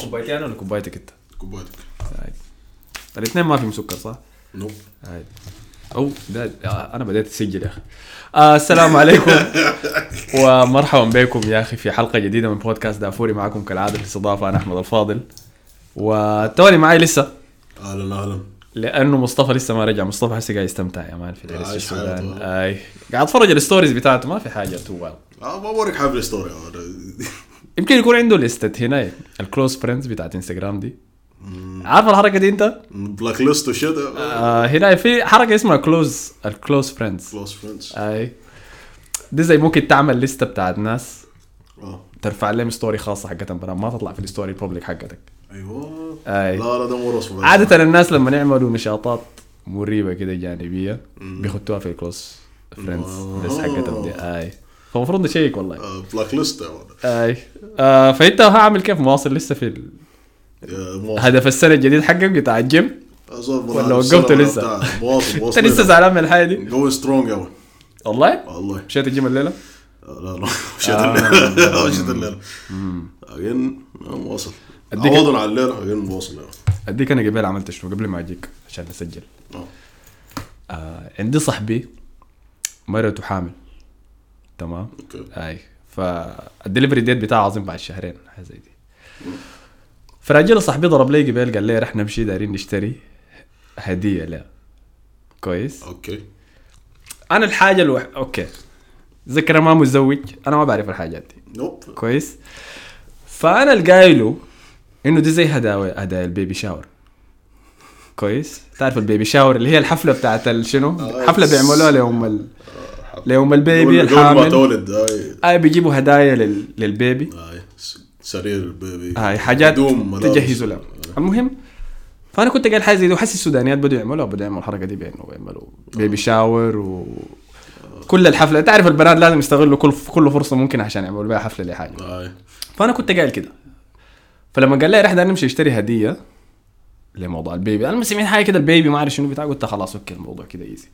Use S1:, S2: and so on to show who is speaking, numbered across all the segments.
S1: كوبايتي انا ولا كوبايتك انت؟
S2: كوبايتك
S1: طيب. الاثنين ما فيهم سكر صح؟
S2: نو
S1: طيب. او ده آه، انا بديت اسجل يا اخي آه السلام عليكم ومرحبا بكم يا اخي في حلقه جديده من بودكاست دافوري معكم كالعاده في الاستضافه انا احمد الفاضل وتوني معي لسه
S2: اهلا اهلا
S1: لانه مصطفى لسه ما رجع مصطفى هسه قاعد يستمتع يا مان في جلسة
S2: عايش
S1: السودان
S2: حياته.
S1: اي قاعد اتفرج الستوريز بتاعته ما في حاجه تو واو.
S2: آه ما بوريك حاجه في الستوري آه،
S1: يمكن يكون عنده لستة هنا الكلوز فريندز بتاعت انستغرام دي عارف الحركه دي انت؟
S2: بلاك ليست وشيت آه،
S1: آه هنا في حركه اسمها كلوز الكلوز فريندز
S2: كلوز فريندز
S1: اي دي زي ممكن تعمل لستة بتاعت ناس
S2: اه
S1: ترفع لهم ستوري خاصه حقتهم برا ما تطلع في الستوري الببليك حقتك
S2: ايوه
S1: أي.
S2: لا لا ده مو رسمي
S1: عاده الناس لما يعملوا نشاطات مريبه كده جانبيه بيخطوها في الكلوز فريندز بس حقتهم دي اي فالمفروض نشيك والله
S2: بلاك ليست آه، يا ولد.
S1: اي آه فانت هعمل كيف مواصل لسه في ال-
S2: يا آه، مواطن.
S1: هدف السنه الجديد حقك بتاع الجيم
S2: أزول
S1: ولا
S2: برا-
S1: وقفته
S2: السنة
S1: لسه؟
S2: بتاع مواطن
S1: انت لسه زعلان من الحاجه دي
S2: جو سترونج يا ولد.
S1: والله
S2: والله
S1: مشيت الجيم الليله
S2: آه، لا آه، لا مشيت الليل مشيت الليل بعدين آه، مواصل
S1: أديك-
S2: عوضا على الليل بعدين مواصل يا ولد.
S1: اديك انا قبل عملت شنو قبل ما اجيك عشان نسجل
S2: آه.
S1: آه عندي صاحبي مرته حامل تمام
S2: اوكي
S1: هاي فالدليفري ديت بتاعه اظن بعد شهرين حاجه زي دي فراجل صاحبي ضرب لي قبل قال لي رح نمشي دايرين نشتري هديه لها كويس
S2: اوكي
S1: انا الحاجه الوح... اوكي ذكر أنا ما متزوج انا ما بعرف الحاجات دي
S2: نوب
S1: كويس فانا القايله له انه دي زي هدايا هدايا البيبي شاور كويس تعرف البيبي شاور اللي هي الحفله بتاعت ال- شنو
S2: آه،
S1: حفله بيعملوها ليوم ال... ليوم البيبي
S2: قبل- قبل ما
S1: الحامل
S2: تولد آه، هاي
S1: اي بيجيبوا هدايا لل... للبيبي
S2: هاي آه، س- سرير البيبي
S1: آه، هاي حاجات
S2: آه، هدوم، آه. ملابس.
S1: تجهزوا لها المهم فانا كنت قايل حاجه زي دي وحس السودانيات بدوا يعملوها بدوا يعملوا الحركه دي بانه يعملوا
S2: آه.
S1: بيبي شاور و كل الحفله تعرف البنات لازم يستغلوا كل كل فرصه ممكنه عشان يعملوا بها حفله لحاجه
S2: هاي
S1: فانا كنت قايل كده فلما قال لي رح ده نمشي اشتري هديه لموضوع البيبي انا سمعت حاجه كده البيبي ما اعرف شنو بتاع قلت خلاص اوكي الموضوع كده ايزي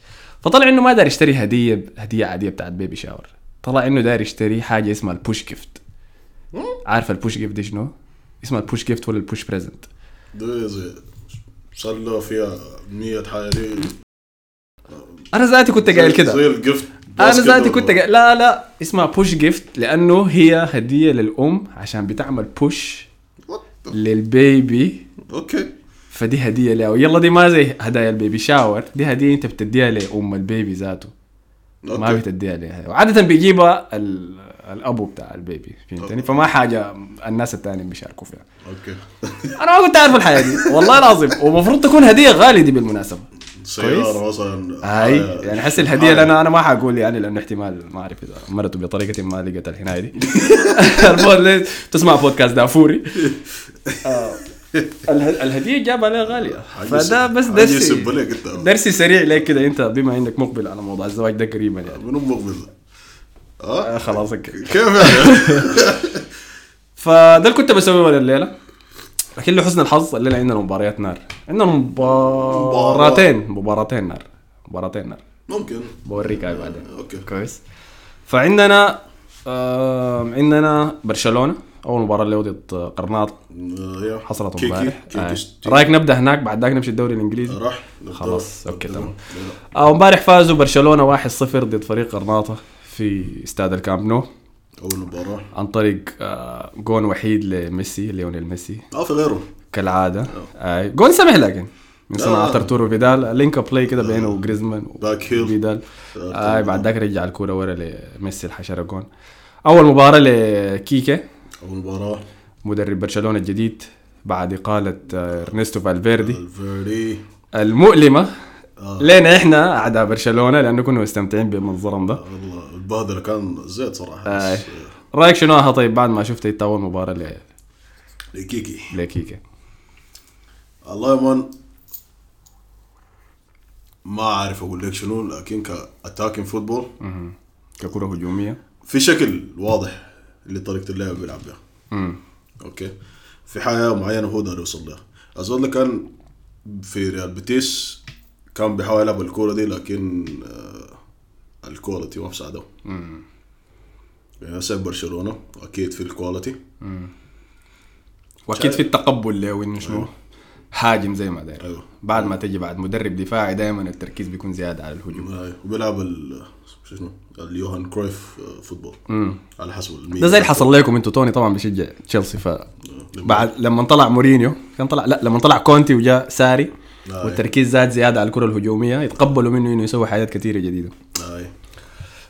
S1: فطلع انه ما داري يشتري هديه هديه عاديه بتاعت بيبي شاور طلع انه داري يشتري حاجه اسمها البوش جيفت عارف البوش جيفت دي شنو؟ اسمها البوش جيفت ولا البوش بريزنت
S2: دي زي صار له فيها 100 حاجه دي
S1: انا ذاتي كنت قايل كده
S2: زي الجفت
S1: انا ذاتي كنت قاعد لا لا اسمها بوش جيفت لانه هي هديه للام عشان بتعمل بوش للبيبي
S2: اوكي
S1: فدي هديه لها يلا دي ما زي هدايا البيبي شاور دي هديه انت بتديها لام البيبي ذاته ما
S2: أوكي.
S1: بتديها لها وعاده بيجيبها ال... الابو بتاع البيبي فهمتني
S2: أوكي.
S1: فما حاجه الناس التانيين بيشاركوا فيها
S2: اوكي
S1: انا ما كنت عارف الحياه دي والله العظيم ومفروض تكون هديه غاليه دي بالمناسبه
S2: سياره مثلا
S1: هاي
S2: حاجة-
S1: يعني حس الهديه
S2: حاجة.
S1: لنا انا ما حقول يعني لانه احتمال ما اعرف اذا مرته بطريقه ما لقت الحنايه دي المهم ليه تسمع بودكاست دافوري آه، اله- الهديه جابها لها غاليه
S2: حاجة
S1: فده
S2: يسب-
S1: بس
S2: حاجة
S1: درسي
S2: يسب لك انت
S1: درسي سريع لك كده انت بما انك مقبل على موضوع الزواج ده قريبا يعني
S2: منو مقبل
S1: آه،
S2: اه
S1: خلاص اوكي
S2: كيف يعني؟
S1: فده اللي كنت بسويه الليله لكن لحسن الحظ الليله عندنا مباريات نار عندنا مباراتين مباراتين نار مباراتين نار
S2: ممكن
S1: بوريك هاي بعدين
S2: اوكي
S1: كويس فعندنا آم، عندنا برشلونه اول مباراه اللي هو ضد قرناطه
S2: آه، يا.
S1: حصلت
S2: كيكي-
S1: امبارح
S2: كيكي-
S1: آه.
S2: كيكي.
S1: رايك نبدا هناك بعد ذاك نمشي الدوري الانجليزي
S2: آه، راح نبدأ.
S1: خلاص، أوكي، تمام.
S2: نبدأ.
S1: آه، امبارح فازوا برشلونه 1-0 ضد فريق قرناطه في استاد الكامب نو
S2: اول مباراه
S1: عن طريق آه، جون وحيد لميسي ليونيل ميسي
S2: اه في غيره
S1: كالعاده آه، جون سمح لكن من صناعه
S2: آه.
S1: ارتورو فيدال لينك اب بلاي كده بينه وجريزمان
S2: باك هيل.
S1: فيدال
S2: آه،
S1: آه بعد ذاك رجع الكوره ورا لميسي الحشره جون اول مباراه لكيكا
S2: اول مباراه
S1: مدرب برشلونه الجديد بعد اقاله آه، ارنستو فالفيردي
S2: الفيردي
S1: المؤلمه
S2: آه.
S1: لينا احنا اعداء برشلونه لانه كنا مستمتعين بمنظرهم ده
S2: والله البهدله كان زيت صراحه
S1: آه.
S2: بس، آه،
S1: رايك شنو ها طيب بعد ما شفت انت اول مباراه ل-
S2: لكيكي
S1: لكيكا
S2: والله يا مان ما اعرف اقول لك شنو لكن كاتاكين فوتبول
S1: مهم. ككره هجوميه
S2: في شكل واضح لطريقه اللعب بيلعب بها
S1: مم.
S2: اوكي في حاجه معينه هو داير يوصل لها اظن كان في ريال بيتيس كان بيحاول يلعب الكوره دي لكن آه، الكواليتي ما مساعده يعني هسه برشلونه اكيد في الكواليتي
S1: واكيد في التقبل له انه شنو
S2: أيوه.
S1: هاجم زي ما داير
S2: أيوة.
S1: بعد ما تجي بعد مدرب دفاعي دائما التركيز بيكون زياده على الهجوم
S2: هاي. وبيلعب ال شو اسمه اليوهان كرويف آه، فوتبول على حسب المين
S1: ده زي اللي حصل لكم انتوا توني طبعا بشجع تشيلسي ف
S2: أيوه.
S1: بعد لما طلع مورينيو كان طلع لا لما طلع كونتي وجاء ساري
S2: آه.
S1: والتركيز زاد زياده على الكره الهجوميه يتقبلوا منه انه يسوي حاجات كثيره جديده
S2: هاي.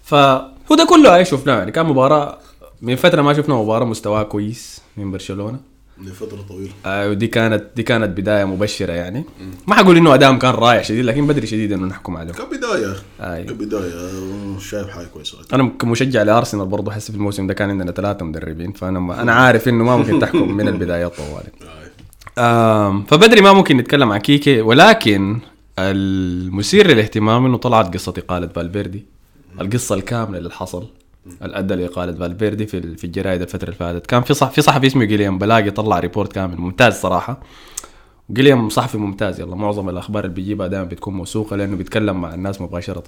S1: فهو ده كله هاي شفناه يعني كان مباراه من فتره ما شفنا مباراه مستواها كويس من برشلونه
S2: لفتره طويله
S1: آه، ودي كانت دي كانت بدايه مبشره يعني ما حقول انه ادائهم كان رائع شديد لكن بدري شديد انه نحكم عليهم
S2: كان بدايه
S1: هاي.
S2: كان بدايه آه، شايف حاجه كويسه
S1: انا كمشجع لارسنال برضه حس في الموسم ده كان عندنا ثلاثه مدربين فانا ما انا عارف انه ما ممكن تحكم من البدايه طوالي
S2: هاي.
S1: آم، فبدري ما ممكن نتكلم عن كيكي ولكن المثير للاهتمام انه طلعت قصه اقاله فالفيردي القصه الكامله اللي حصل اللي ادى لاقاله فالفيردي في ال- في الجرايد الفتره اللي فاتت كان في صح في صحفي اسمه جيليام بلاقي طلع ريبورت كامل ممتاز صراحه جيليام صحفي ممتاز يلا معظم الاخبار اللي بيجيبها دائما بتكون موثوقه لانه بيتكلم مع الناس مباشره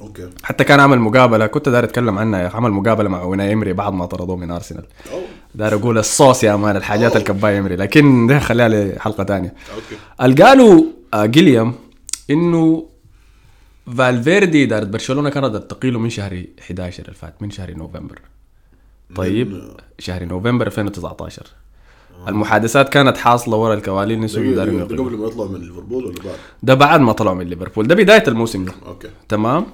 S2: اوكي
S1: حتى كان عمل مقابله كنت داير اتكلم عنها يا أخي، عمل مقابله مع اوناي امري بعد ما طردوه من ارسنال
S2: أو.
S1: داير اقول الصوص يا مان الحاجات
S2: أوه.
S1: الكبايه امري لكن ده خليها لحلقه ثانيه
S2: اوكي
S1: قالوا آه، جيليام انه فالفيردي دارت برشلونه كانت تقيله من شهر 11 الفات من شهر نوفمبر طيب
S2: من-
S1: شهر نوفمبر 2019 المحادثات كانت حاصله ورا الكوالين نسوا
S2: آه. دقيقة-
S1: دارين
S2: دقيقة،
S1: يقيلوا.
S2: قبل ما يطلع من ليفربول ولا بعد؟
S1: ده بعد ما طلعوا من ليفربول ده بدايه الموسم ده
S2: اوكي
S1: تمام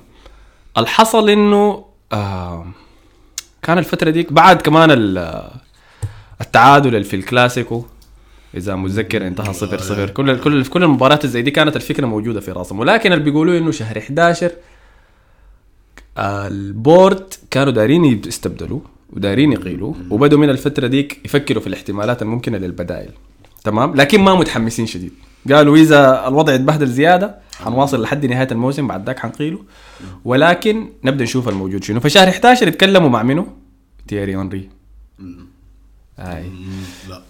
S1: الحصل انه آه كان الفتره ديك بعد كمان ال- آه، التعادل اللي في الكلاسيكو اذا متذكر انتهى صفر صفر كل كل كل المباريات زي دي كانت الفكره موجوده في راسهم ولكن اللي بيقولوا انه شهر 11 آه، البورد كانوا دايرين يستبدلوا ودايرين يقيلوا وبدوا من الفتره ديك يفكروا في الاحتمالات الممكنه للبدائل تمام لكن ما متحمسين شديد قالوا اذا الوضع اتبهدل زياده حنواصل لحد نهايه الموسم بعد ذاك حنقيله ولكن نبدا نشوف الموجود شنو فشهر 11 اتكلموا مع منو؟ تيري اونري هاي
S2: مم،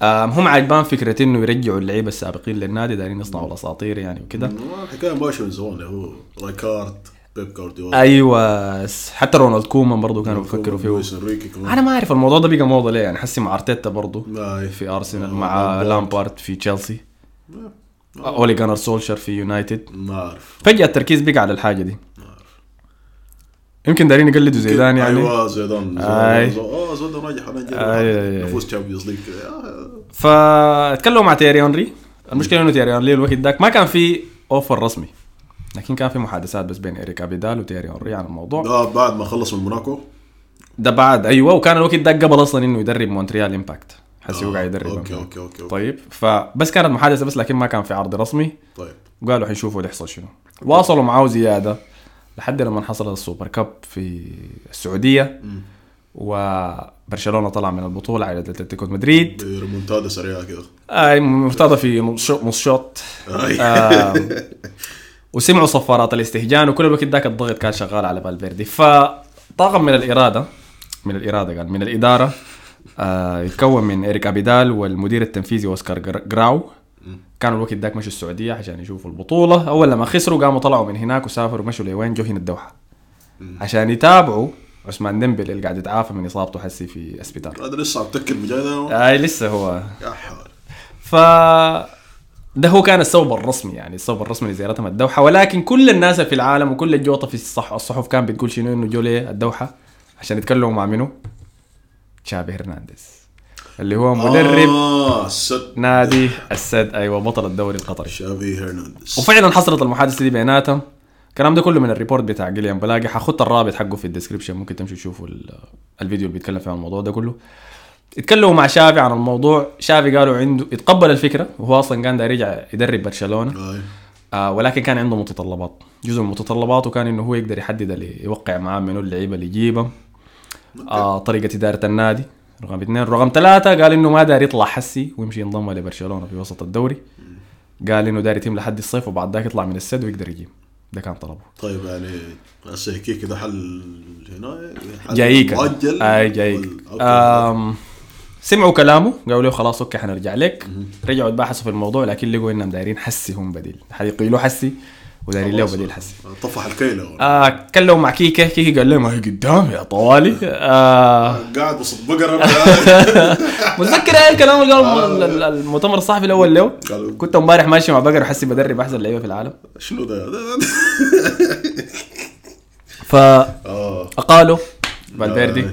S2: لا
S1: آم، هم عجبان فكره انه يرجعوا اللعيبه السابقين للنادي دايرين يصنعوا الاساطير يعني وكده
S2: ما الحكايه ماشيه من زمان هو رايكارد بيب جوارديولا
S1: ايوه س- حتى رونالد كومان برضو كانوا بيفكروا فيه
S2: لويس انريكي كمان
S1: انا ما اعرف الموضوع ده بقى موضه ليه يعني حسي مع ارتيتا برضو
S2: هاي.
S1: في ارسنال
S2: آه، آه.
S1: مع
S2: لامبارد.
S1: لامبارد في تشيلسي
S2: ما-
S1: اولي جانر سولشر في يونايتد
S2: ما اعرف
S1: فجاه التركيز بقى على الحاجه دي
S2: ما اعرف
S1: يمكن دارين يقلدوا زيدان يعني
S2: ايوه زيدان
S1: هاي.
S2: زيدان- اه زيدان ناجح انا
S1: اي- اي- اي.
S2: جاي نفوز تشامبيونز ليج آه،
S1: فتكلموا مع تيري اونري المشكله انه تيري اونري الوقت داك ما كان في اوفر رسمي لكن كان في محادثات بس بين اريك ابيدال وتيري اونري عن الموضوع
S2: ده بعد ما خلص من موناكو
S1: ده بعد ايوه وكان الوقت داك قبل اصلا انه يدرب مونتريال امباكت حسي هو
S2: آه،
S1: قاعد يدرب
S2: اوكي
S1: امباكت.
S2: اوكي اوكي أوكي.
S1: طيب فبس كانت محادثه بس لكن ما كان في عرض رسمي
S2: طيب
S1: وقالوا حنشوفوا اللي يحصل شنو واصلوا معاه زياده لحد لما حصل السوبر كاب في السعوديه وبرشلونه طلع من البطوله على اتلتيكو مدريد
S2: ريمونتادا سريعه كده
S1: اي مرتضى في نص شوط- نص شوط
S2: هاي.
S1: Ah. آم، وسمعوا صفارات الاستهجان وكل الوقت ذاك الضغط كان شغال على فالفيردي فطاقم من الاراده من الاراده قال من الاداره آه، يتكون من اريك ابيدال والمدير التنفيذي اوسكار جر- جراو كانوا الوقت ذاك مشوا السعوديه عشان يشوفوا البطوله اول لما خسروا قاموا طلعوا من هناك وسافروا مشوا لوين جو هنا الدوحه عشان يتابعوا عثمان ديمبلي اللي قاعد يتعافى من اصابته حسي في اسبيتال
S2: هذا لسه عم تكل بجاي ده
S1: اي لسه هو
S2: يا حول
S1: ف ده هو كان السبب الرسمي يعني السبب الرسمي لزيارتهم الدوحه ولكن كل الناس في العالم وكل الجوطه في الصح الصحف كان بتقول شنو انه جو ليه الدوحه عشان يتكلموا مع منو؟ تشابي هرنانديز اللي هو مدرب آه.
S2: اه صدق
S1: نادي السد ايوه بطل الدوري القطري
S2: شافي هرنانديز
S1: وفعلا حصلت المحادثه دي بيناتهم الكلام ده كله من الريبورت بتاع جيليان بلاقي حخط الرابط حقه في الديسكربشن ممكن تمشوا تشوفوا ال- الفيديو اللي بيتكلم فيه عن الموضوع ده كله اتكلموا مع شافي عن الموضوع شافي قالوا عنده اتقبل الفكره وهو اصلا كان داير يرجع يدرب برشلونه
S2: هاي.
S1: آه ولكن كان عنده متطلبات جزء من متطلباته كان انه هو يقدر يحدد اللي يوقع معاه منو اللعيبه اللي يجيبهم آه طريقه اداره النادي رقم اثنين رقم ثلاثه قال انه ما داري يطلع حسي ويمشي ينضم لبرشلونه في وسط الدوري قال انه داري يتم لحد الصيف وبعد ذاك يطلع من السد ويقدر يجيب ده كان طلبه
S2: طيب يعني هسه هيك كده حل هنا حل
S1: جايك
S2: مؤجل
S1: اي جايك
S2: وال- أوكي.
S1: آم، سمعوا كلامه قالوا له خلاص اوكي حنرجع لك رجعوا يتباحثوا في الموضوع لكن لقوا انهم دايرين حسي هم بديل حيقيلوا حسي وداري له بديل حسي
S2: طفح الكيلة
S1: آه اتكلم مع كيكه كيكه قال لي ما هي قدامي يا طوالي آه
S2: قاعد وسط بقرة قاعد.
S1: متذكر هاي الكلام اللي قاله المؤتمر الصحفي الاول له
S2: قالوا
S1: كنت امبارح ماشي مع بقر وحسي بدرب احسن لعيبه في العالم
S2: شنو ده؟
S1: فاقاله
S2: اه
S1: فالفيردي
S2: آه،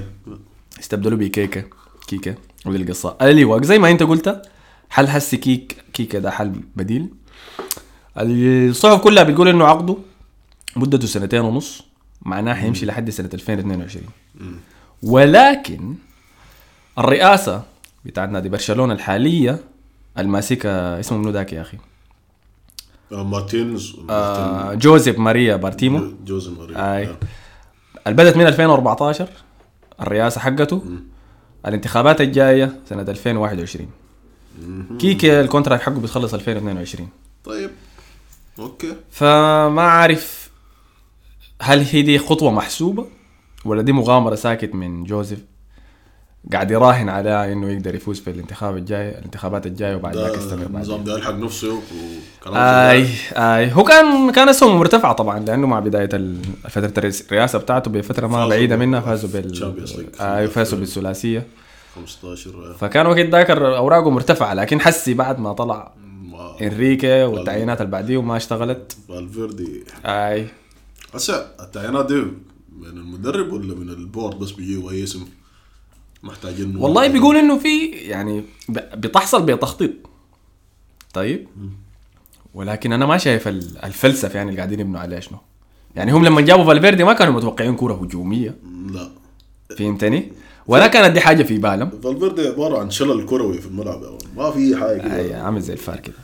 S1: استبدلوا بكيكه كيكه ودي القصه ايوه زي ما انت قلت حل حسي كيك كيكه ده حل بديل الصحف كلها بتقول انه عقده مدته سنتين ونص معناه حيمشي لحد سنه 2022 ولكن الرئاسه بتاعت نادي برشلونه الحاليه الماسكه اسمه منو ذاك يا اخي
S2: آه، مارتينز
S1: آه جوزيف ماريا بارتيمو
S2: جوز ماريا
S1: اي
S2: آه.
S1: اللي بدت من 2014 الرئاسه حقته الانتخابات الجايه سنه 2021 كيكي الكونتراكت حقه بيتخلص 2022
S2: طيب اوكي
S1: فما عارف هل هي دي خطوه محسوبه ولا دي مغامره ساكت من جوزيف قاعد يراهن على انه يقدر يفوز في الانتخاب الجاي الانتخابات الجايه وبعد ذاك
S2: ده
S1: يستمر بعد
S2: النظام ده يلحق نفسه وكلام
S1: اي
S2: زي ده.
S1: اي هو كان كان اسهمه مرتفعه طبعا لانه مع بدايه ال- فتره الرئاسه بتاعته بفتره ما
S2: فازوا
S1: بعيده
S2: بال-
S1: منها فازوا
S2: Champions League.
S1: بال اي فازوا بالثلاثيه
S2: 15 آه،
S1: فكان وقت ذاك اوراقه مرتفعه لكن حسي بعد ما طلع
S2: مع
S1: إيه. انريكي والتعيينات اللي بعديه وما اشتغلت
S2: فالفيردي
S1: اي
S2: هسه التعيينات دي من المدرب ولا من البورد بس بيجيبوا اي اسم محتاجين
S1: والله بيقول انه في يعني ب- بتحصل بتخطيط طيب ولكن انا ما شايف ال- الفلسفه يعني اللي قاعدين يبنوا عليها شنو يعني هم لما جابوا فالفيردي ما كانوا متوقعين كره هجوميه
S2: لا
S1: فهمتني؟ ولا كانت دي حاجه في بالهم
S2: فالفيردي عباره عن شلل كروي في الملعب يا مان. ما في حاجه كده
S1: اي عامل زي الفار كده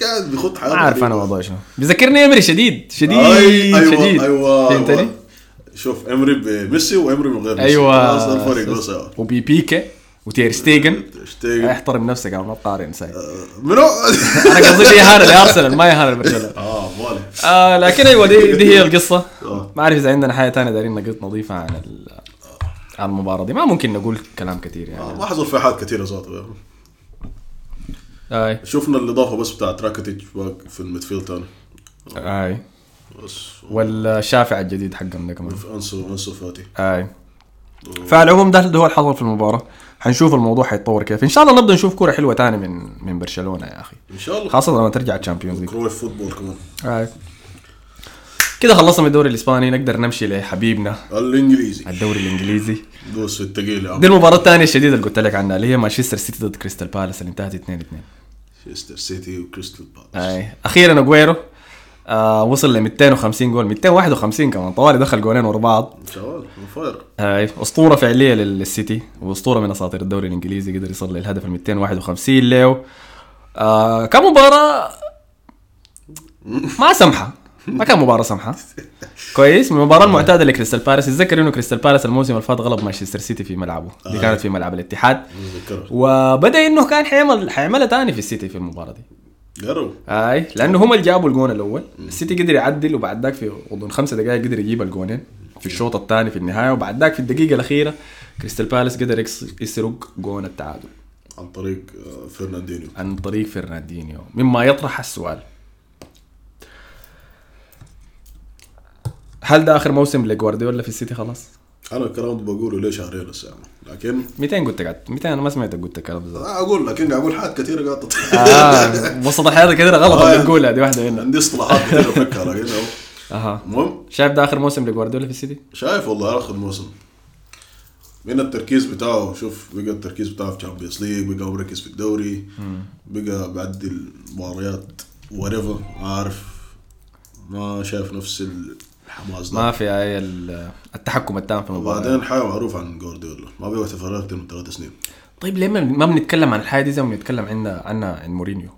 S2: قاعد بيخط حياته
S1: ما عارف انا موضوع شنو أيوة، بيذكرني امري شديد شديد
S2: ايوه
S1: شديد
S2: ايوه ايوه
S1: فهمتني؟
S2: شوف امري بميسي وامري من غير ميسي
S1: ايوه
S2: خلاص ده الفرق بس يا
S1: وبي بيكا وتير ستيجن
S2: مان. اشتيجن
S1: احترم نفسك يا ما تقارن ساي
S2: أه، منو
S1: انا قصدي دي اهانه لارسنال ما اهانه لبرشلونه
S2: اه بالي
S1: آه لكن ايوه دي, دي هي القصه
S2: آه.
S1: ما اعرف اذا عندنا حاجه ثانيه دارين نقط نظيفه عن ال- عن المباراه دي ما ممكن نقول كلام كثير يعني
S2: آه، ما حصل في حاجات كثيره ذاته يا مان.
S1: اي
S2: شفنا الاضافه بس بتاعت راكيتيج في الميدفيلد تاني
S1: اي
S2: بس
S1: والشافع الجديد حقهم ده كمان
S2: في انسو انسو فاتي
S1: اي فعلى العموم ده ده هو اللي حصل في المباراه حنشوف الموضوع حيتطور كيف ان شاء الله نبدا نشوف كوره حلوه تاني من من برشلونه يا اخي
S2: ان شاء الله
S1: خاصه لما ترجع الشامبيونز ليج
S2: كروي فوتبول كمان
S1: آي. كده خلصنا من الدوري الاسباني نقدر نمشي لحبيبنا
S2: الانجليزي
S1: الدوري الانجليزي
S2: دوس في الثقيل يا عم
S1: دي المباراه الثانيه الشديده اللي قلت لك عنها اللي هي مانشستر سيتي ضد كريستال بالاس اللي انتهت 2 2
S2: شيستر سيتي وكريستال بالاس
S1: اي اخيرا اجويرو آه وصل ل 250 جول 251 كمان طوالي دخل جولين ورا بعض
S2: ان شاء الله من فاير
S1: هاي اسطوره فعليه للسيتي واسطوره من اساطير الدوري الانجليزي قدر يصل للهدف ال 251 له آه كان مباراه ما سمحه ما كان مباراه سمحه كويس من المباراه المعتاده لكريستال بالاس اتذكر انه كريستال بالاس الموسم اللي فات غلب مانشستر سيتي في ملعبه دي كانت في ملعب الاتحاد
S2: متذكرها
S1: وبدا انه كان حيعمل حيعملها ثاني في السيتي في المباراه دي
S2: قروا
S1: اي لانه هم اللي جابوا الجون الاول السيتي قدر يعدل وبعد ذاك في غضون خمسة دقائق قدر يجيب الجونين في الشوط الثاني في النهايه وبعد ذاك في الدقيقه الاخيره كريستال بالاس قدر يكس- يسرق جون التعادل
S2: عن طريق آه، فرناندينيو
S1: عن طريق فرناندينيو مما يطرح السؤال هل ده اخر موسم لجوارديولا في السيتي خلاص؟
S2: انا الكلام ده بقوله ليه شهرين هسه يا عم. لكن
S1: 200 قلت قعدت 200 انا ما سمعتك قلت الكلام ده
S2: آه، اقول لكن قاعد اقول حاجات كثيره قاعد تطلع
S1: اه وسط الحياه كثيره غلط
S2: آه.
S1: اللي بنقولها دي واحده منها
S2: عندي اصطلاحات كثيره افكر لكن أهو.
S1: اها
S2: المهم
S1: شايف ده اخر موسم لجوارديولا في السيتي؟
S2: شايف والله اخر موسم من التركيز بتاعه شوف بقى التركيز بتاعه في تشامبيونز ليج بقى مركز في الدوري بقى بعدي المباريات وريفر ما عارف ما شايف نفس الحماس ده
S1: ما في اي ال- التحكم التام في المباراه
S2: وبعدين حاجه معروف عن جوارديولا ما بيقعد في فريق اكثر من ثلاث سنين
S1: طيب ليه ما- ما بنتكلم عن الحاجه دي زي ما بنتكلم عنا عنا عن مورينيو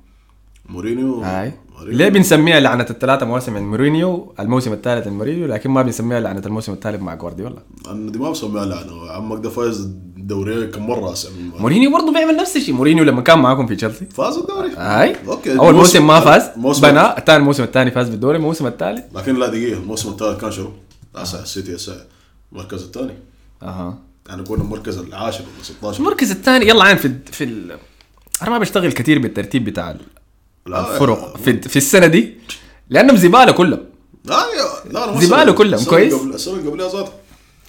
S2: مورينيو
S1: هاي
S2: مورينيو.
S1: ليه بنسميها لعنه الثلاثه مواسم عند مورينيو الموسم الثالث عند مورينيو لكن ما بنسميها لعنه الموسم الثالث مع جوارديولا
S2: انا دي ما بسميها لعنه عمك ده فايز الدوري كم مره اسع
S1: مورينيو برضه بيعمل نفس الشيء مورينيو لما كان معاكم في تشيلسي
S2: فاز الدوري
S1: هاي
S2: اوكي
S1: اول موسم ما فاز
S2: موسم
S1: بنى الثاني الموسم الثاني فاز بالدوري الموسم الثالث
S2: لكن لا دقيقه الموسم الثالث كان شنو؟ اسع السيتي اسع المركز الثاني
S1: اها
S2: يعني كنا المركز العاشر ولا 16
S1: المركز الثاني يلا عين في الد- في ال... انا ما بشتغل كثير بالترتيب بتاع ال-
S2: لا،
S1: الفرق في, في السنه دي لانهم زباله كلهم
S2: لا يا- لا أنا ما
S1: زبالة
S2: سويت.
S1: كلهم،
S2: السنة
S1: كويس؟
S2: قبل- السنه اللي قبلها ذاتها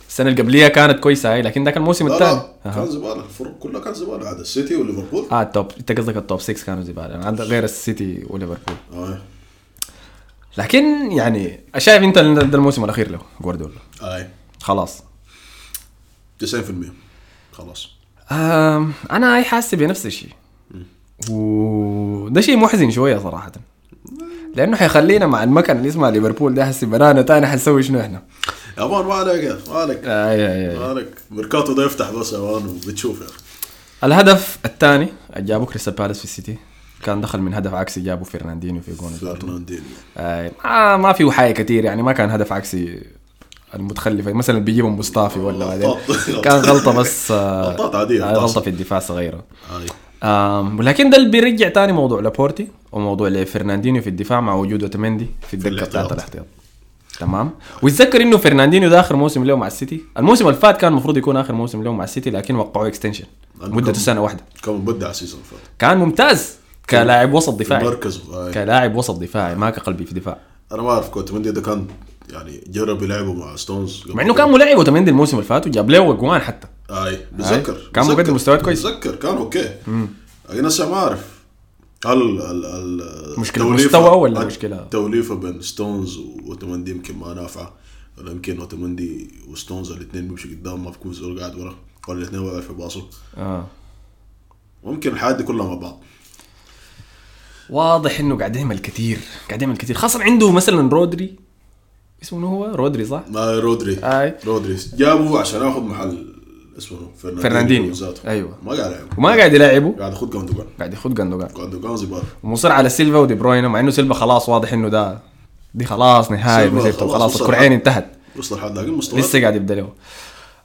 S1: السنه اللي قبليها كانت كويسه هاي لكن ذاك الموسم
S2: لا
S1: الثاني
S2: لا كان زباله الفرق كلها كانت زباله عاد السيتي وليفربول
S1: اه التوب انت قصدك التوب 6 كانوا زباله يعني عندك غير السيتي وليفربول
S2: اي
S1: لكن يعني شايف انت ال- ده الموسم الاخير له جوارديولا
S2: اي
S1: خلاص
S2: 90% خلاص
S1: آم، انا هاي حاسه بنفس الشيء وده شيء محزن شويه صراحه لانه حيخلينا مع المكان اللي اسمها ليفربول ده هسه برانا تاني حنسوي شنو احنا
S2: يا مان ما عليك يا أخي، ما عليك
S1: آه يا يا
S2: ما
S1: يا.
S2: عليك ميركاتو ده يفتح بس يا مان وبتشوف يا اخي
S1: الهدف الثاني جابوا كريستال بالاس في السيتي كان دخل من هدف عكسي جابوا فرناندينيو في جون
S2: فرناندينيو
S1: آه ما, ما فيه حاجه كتير يعني ما كان هدف عكسي المتخلفه مثلا بيجيبوا مصطفي ولا بعدين
S2: غلطات.
S1: كان غلطه بس آه،
S2: غلطات عادية،
S1: آه، غلطه
S2: غلطات.
S1: في الدفاع صغيره
S2: هاي
S1: آم، ولكن ده اللي بيرجع تاني موضوع لابورتي وموضوع لفرناندينيو في الدفاع مع وجود اوتمندي في الدكه
S2: الاحتياط.
S1: بتاعت الاحتياط تمام ويتذكر انه فرناندينيو ده اخر موسم له مع السيتي الموسم اللي فات كان المفروض يكون اخر موسم له مع السيتي لكن وقعوا اكستنشن
S2: أنا
S1: مدته
S2: كم-
S1: سنه واحده
S2: كان مبدع السيزون اللي فات
S1: كان ممتاز كلاعب وسط دفاعي
S2: مركزه هاي
S1: كلاعب وسط دفاعي ما كقلبي في دفاع
S2: انا ما اعرف كوتمندي ده كان يعني جرب يلعبه مع ستونز قبل
S1: مع انه
S2: كده.
S1: كان ملاعب اوتمندي الموسم اللي فات وجاب له اجوان حتى
S2: هاي بتذكر
S1: كان
S2: بتذكر.
S1: مقدم مستويات كويس.
S2: بتذكر كان اوكي لكن هسه ما اعرف هل ال ال
S1: مشكلة
S2: التوليفة-
S1: مستوى ولا مشكلة؟
S2: التوليفة بين ستونز وتمندي يمكن ما نافعة ولا يمكن وتمندي وستونز الاثنين بيمشوا قدام ما بكون زول قاعد ورا ولا الاثنين ما بيعرفوا يباصوا آه.
S1: اه
S2: ممكن الحاجات دي كلها مع بعض
S1: واضح انه قاعد يعمل كثير قاعد يعمل كثير خاصه عنده مثلا رودري اسمه منو هو رودري صح؟
S2: ما رودري
S1: هاي.
S2: رودري جابوه عشان ياخذ محل اسمه فرناندينيو
S1: فرناندينيو.
S2: ذاته.
S1: أيوة.
S2: ما قاعد يلعب
S1: وما قاعد يلاعبه
S2: قاعد ياخذ جوندوجان
S1: قاعد ياخذ جندوجان
S2: جوندوجان زباله
S1: ومصر على سيلفا ودي بروين مع انه سيلفا خلاص واضح انه ده دي خلاص نهايه
S2: سيلفا
S1: مسيرته
S2: خلاص
S1: خلاص
S2: وصل
S1: الكرعين
S2: لها.
S1: انتهت
S2: وصل لحد ذاك المستوى
S1: لسه قاعد يبدا له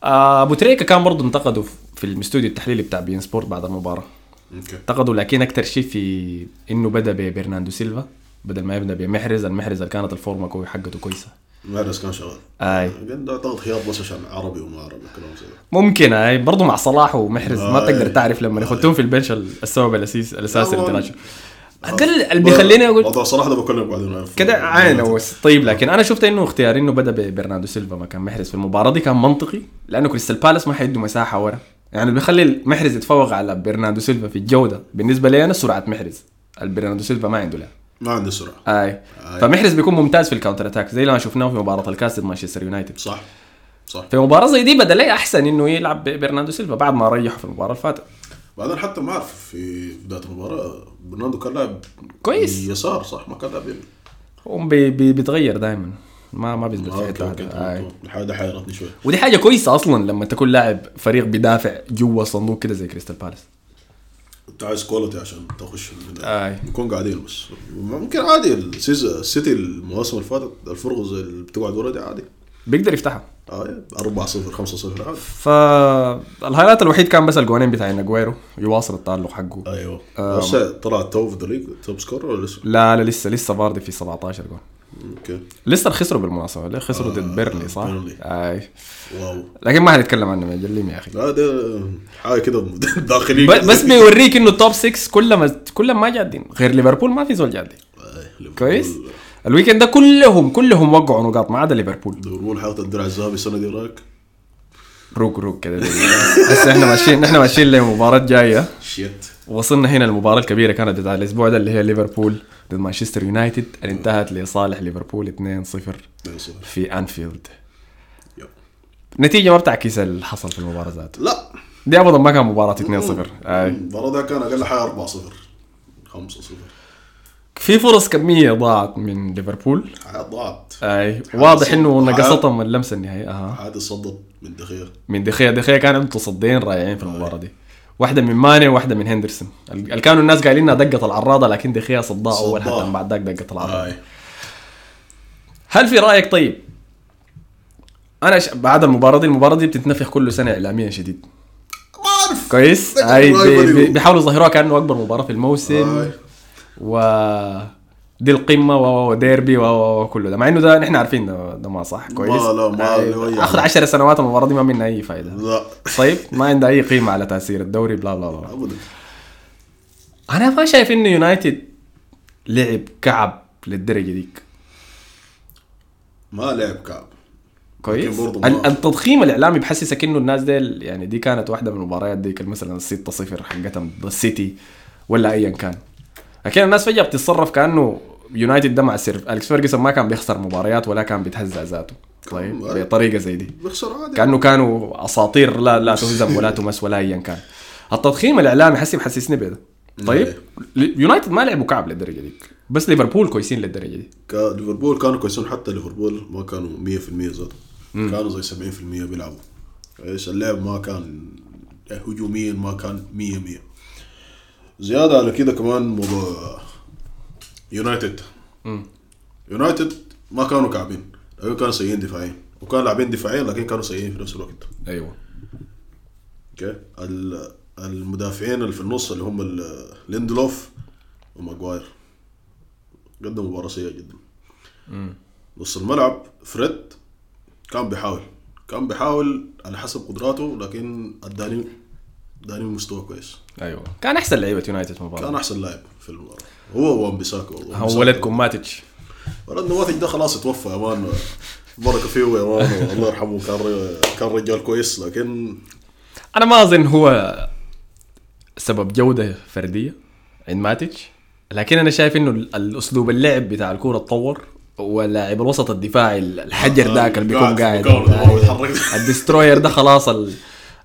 S1: آه، ابو تريكه كان برضه انتقدوا في الاستوديو التحليلي بتاع بين سبورت بعد المباراه
S2: اوكي
S1: انتقدوا لكن اكثر شيء في انه بدا ببرناندو سيلفا بدل ما يبدا بمحرز المحرز اللي كانت الفورمه كوي حقته كويسه
S2: مهرس كان شغال
S1: اي
S2: لكن ده اعتقد خيار بس عشان عربي وما عربي كلام زي ده
S1: ممكن اي برضه مع صلاح ومحرز ما
S2: آي.
S1: تقدر تعرف لما يحطوهم في البنش السبب الاساسي الاساسي
S2: لا، هو-
S1: للتراجع اقل اللي بيخليني اقول
S2: موضوع صراحه ده بكلمك بعدين
S1: كده عين هو طيب لكن انا شفت انه اختيار انه بدا ببرناردو سيلفا مكان محرز في المباراه دي كان منطقي لانه كريستال بالاس ما حيدوا مساحه ورا يعني اللي بيخلي محرز يتفوق على برناردو سيلفا في الجوده بالنسبه لي انا سرعه محرز البرناردو سيلفا ما عنده لها
S2: ما عنده سرعه
S1: اي
S2: آي.
S1: فمحرز بيكون ممتاز في الكاونتر اتاك زي ما شفناه في مباراه الكاس ضد مانشستر يونايتد
S2: صح صح
S1: في مباراه زي دي بدا لي احسن انه يلعب برناردو سيلفا بعد ما ريحه في المباراه اللي فاتت
S2: بعدين حتى ما اعرف في بدايه المباراه برناردو كان لاعب
S1: كويس.
S2: يسار صح ما كان لاعب يمين
S1: هو بي بي بيتغير دائما ما ما بيثبت في
S2: اوكي
S1: حته
S2: اوكي
S1: واحدة. آي.
S2: تمام، تمام. الحاجه دي حيرتني شوي
S1: ودي حاجه كويسه اصلا لما تكون لاعب فريق بدافع جوا الصندوق كده زي كريستال بالاس
S2: انت عايز كواليتي عشان تخش
S1: آي.
S2: يكون قاعدين بس ممكن عادي السيز- السيتي المواسم اللي فاتت الفرق زي اللي بتقعد ورا دي عادي
S1: بيقدر يفتحها
S2: 4 0 5 0 عادي
S1: فالهايلايت الوحيد كان بس الجونين بتاعين اجويرو يواصل التالق حقه
S2: ايوه
S1: آه.
S2: بس طلع تو في الليج توب سكور ولا لسه؟
S1: لا لا لسه لسه فاردي في 17 جون
S2: اوكي
S1: لسه خسروا بالمناسبه ليه خسروا
S2: آه،
S1: ضد بيرلي صح؟
S2: بيرلي.
S1: اي
S2: واو
S1: لكن ما حنتكلم عنه مجلين يا اخي
S2: لا ده حاجه كده داخليه
S1: ب- بس بيوريك انه التوب 6 كلهم كلهم ما جادين غير ليفربول ما في زول جادين
S2: آه، ليفربول-
S1: كويس؟ الويكند ده كلهم كلهم وقعوا نقاط ما عدا ليفربول
S2: ليفربول حاطط الدرع الذهبي السنه دي إيه رايك؟
S1: روك روك كده بس احنا ماشيين احنا ماشيين لمباراه جايه
S2: شيت
S1: وصلنا هنا المباراة الكبيرة كانت بتاع الأسبوع ده اللي هي ليفربول ضد مانشستر يونايتد اللي انتهت لصالح ليفربول 2-0 في أنفيلد
S2: يب.
S1: نتيجة ما بتعكس اللي حصل في المباراة ذاته
S2: لا
S1: دي أبدا ما كان مباراة 2-0 أي.
S2: المباراه ده كان اقل حاجه 4 0 5 0
S1: في فرص كمية ضاعت من ليفربول
S2: حاجات ضاعت
S1: أي. واضح انه
S2: حاجة-
S1: نقصتهم اللمسة النهائية أها.
S2: حاجات صدت من دخيل
S1: من دخيا دخيا كان عنده تصديين رائعين في المباراة دي واحدة من ماني وواحدة من هندرسون اللي كانوا الناس قايلين انها دقت العراضة لكن دخيا صدها أول
S2: صدها.
S1: حتى بعد ذاك دقت العراضة
S2: هاي
S1: هل في رايك طيب انا ش... بعد المباراه دي المباراه دي بتتنفخ كل سنه اعلاميا شديد
S2: ما اعرف
S1: كويس
S2: لكن
S1: هاي
S2: الرايفل
S1: بي... بي...
S2: يقول.
S1: بيحاولوا يظهروها كانه اكبر مباراه في الموسم
S2: هاي.
S1: و دي القمه و- و وديربي و- و و كله ده مع انه ده نحن عارفين ده, ده ما صح كويس
S2: لا، ما
S1: هاي.
S2: له أي
S1: اخر
S2: علاقة.
S1: 10 سنوات المباراه دي ما منها اي فائده
S2: لا
S1: طيب ما عندها اي قيمه على تاثير الدوري بلا بلا بلا
S2: ابدا
S1: انا ما شايف انه يونايتد لعب كعب للدرجه ديك
S2: ما لعب كعب
S1: كويس
S2: لكن برضه
S1: ال-
S2: ما-
S1: التضخيم الاعلامي بحسسك انه الناس ديل يعني دي كانت واحده من المباريات ديك مثلا 6 0 حقتهم ضد السيتي ولا ايا كان لكن الناس فجاه بتتصرف كانه يونايتد ده مع سير اليكس فيرجسون ما كان بيخسر مباريات ولا كان بيتهزأ ذاته طيب
S2: كان-
S1: بطريقه زي دي
S2: بيخسر عادي
S1: كانه كانوا اساطير لا لا تهزم ولا تمس ولا ايا كان التضخيم الاعلامي حسي بحسسني بده
S2: إيه.
S1: طيب يونايتد ما لعبوا كعب للدرجه دي بس ليفربول كويسين للدرجه دي
S2: كا- ليفربول كانوا كويسين حتى ليفربول ما كانوا 100% زاد كانوا زي 70% بيلعبوا ايش اللعب ما كان هجوميا ما كان 100 100 زيادة على كده كمان موضوع يونايتد يونايتد ما كانوا كعبين لكن كانوا سيئين دفاعيا وكانوا لاعبين دفاعيا لكن كانوا سيئين في نفس الوقت
S1: ايوه
S2: اوكي ال- المدافعين اللي في النص اللي هم ال- ليندلوف وماجواير قدموا مباراة سيئة جدا نص الملعب فريد كان بيحاول كان بيحاول على حسب قدراته لكن اداني اداني مستوى كويس
S1: ايوه كان احسن لعيبه يونايتد مباراه
S2: كان احسن لاعب في المباراة هو وان بيساكو
S1: هو ولدكم ماتش
S2: ولد نواتج ده خلاص توفى يا مان بركة فيه يا مان الله يرحمه كان ر- كان رجال كويس لكن
S1: انا ما اظن هو سبب جوده فرديه عند ماتيتش لكن انا شايف انه ال- الاسلوب اللعب بتاع الكوره اتطور ولاعب الوسط الدفاعي ال- الحجر
S2: آه،
S1: ذاك اللي بيكون
S2: قاعد في
S1: قاعد
S2: مكان ما
S1: يعني
S2: بيتحرك.
S1: الدستروير ده خلاص ال...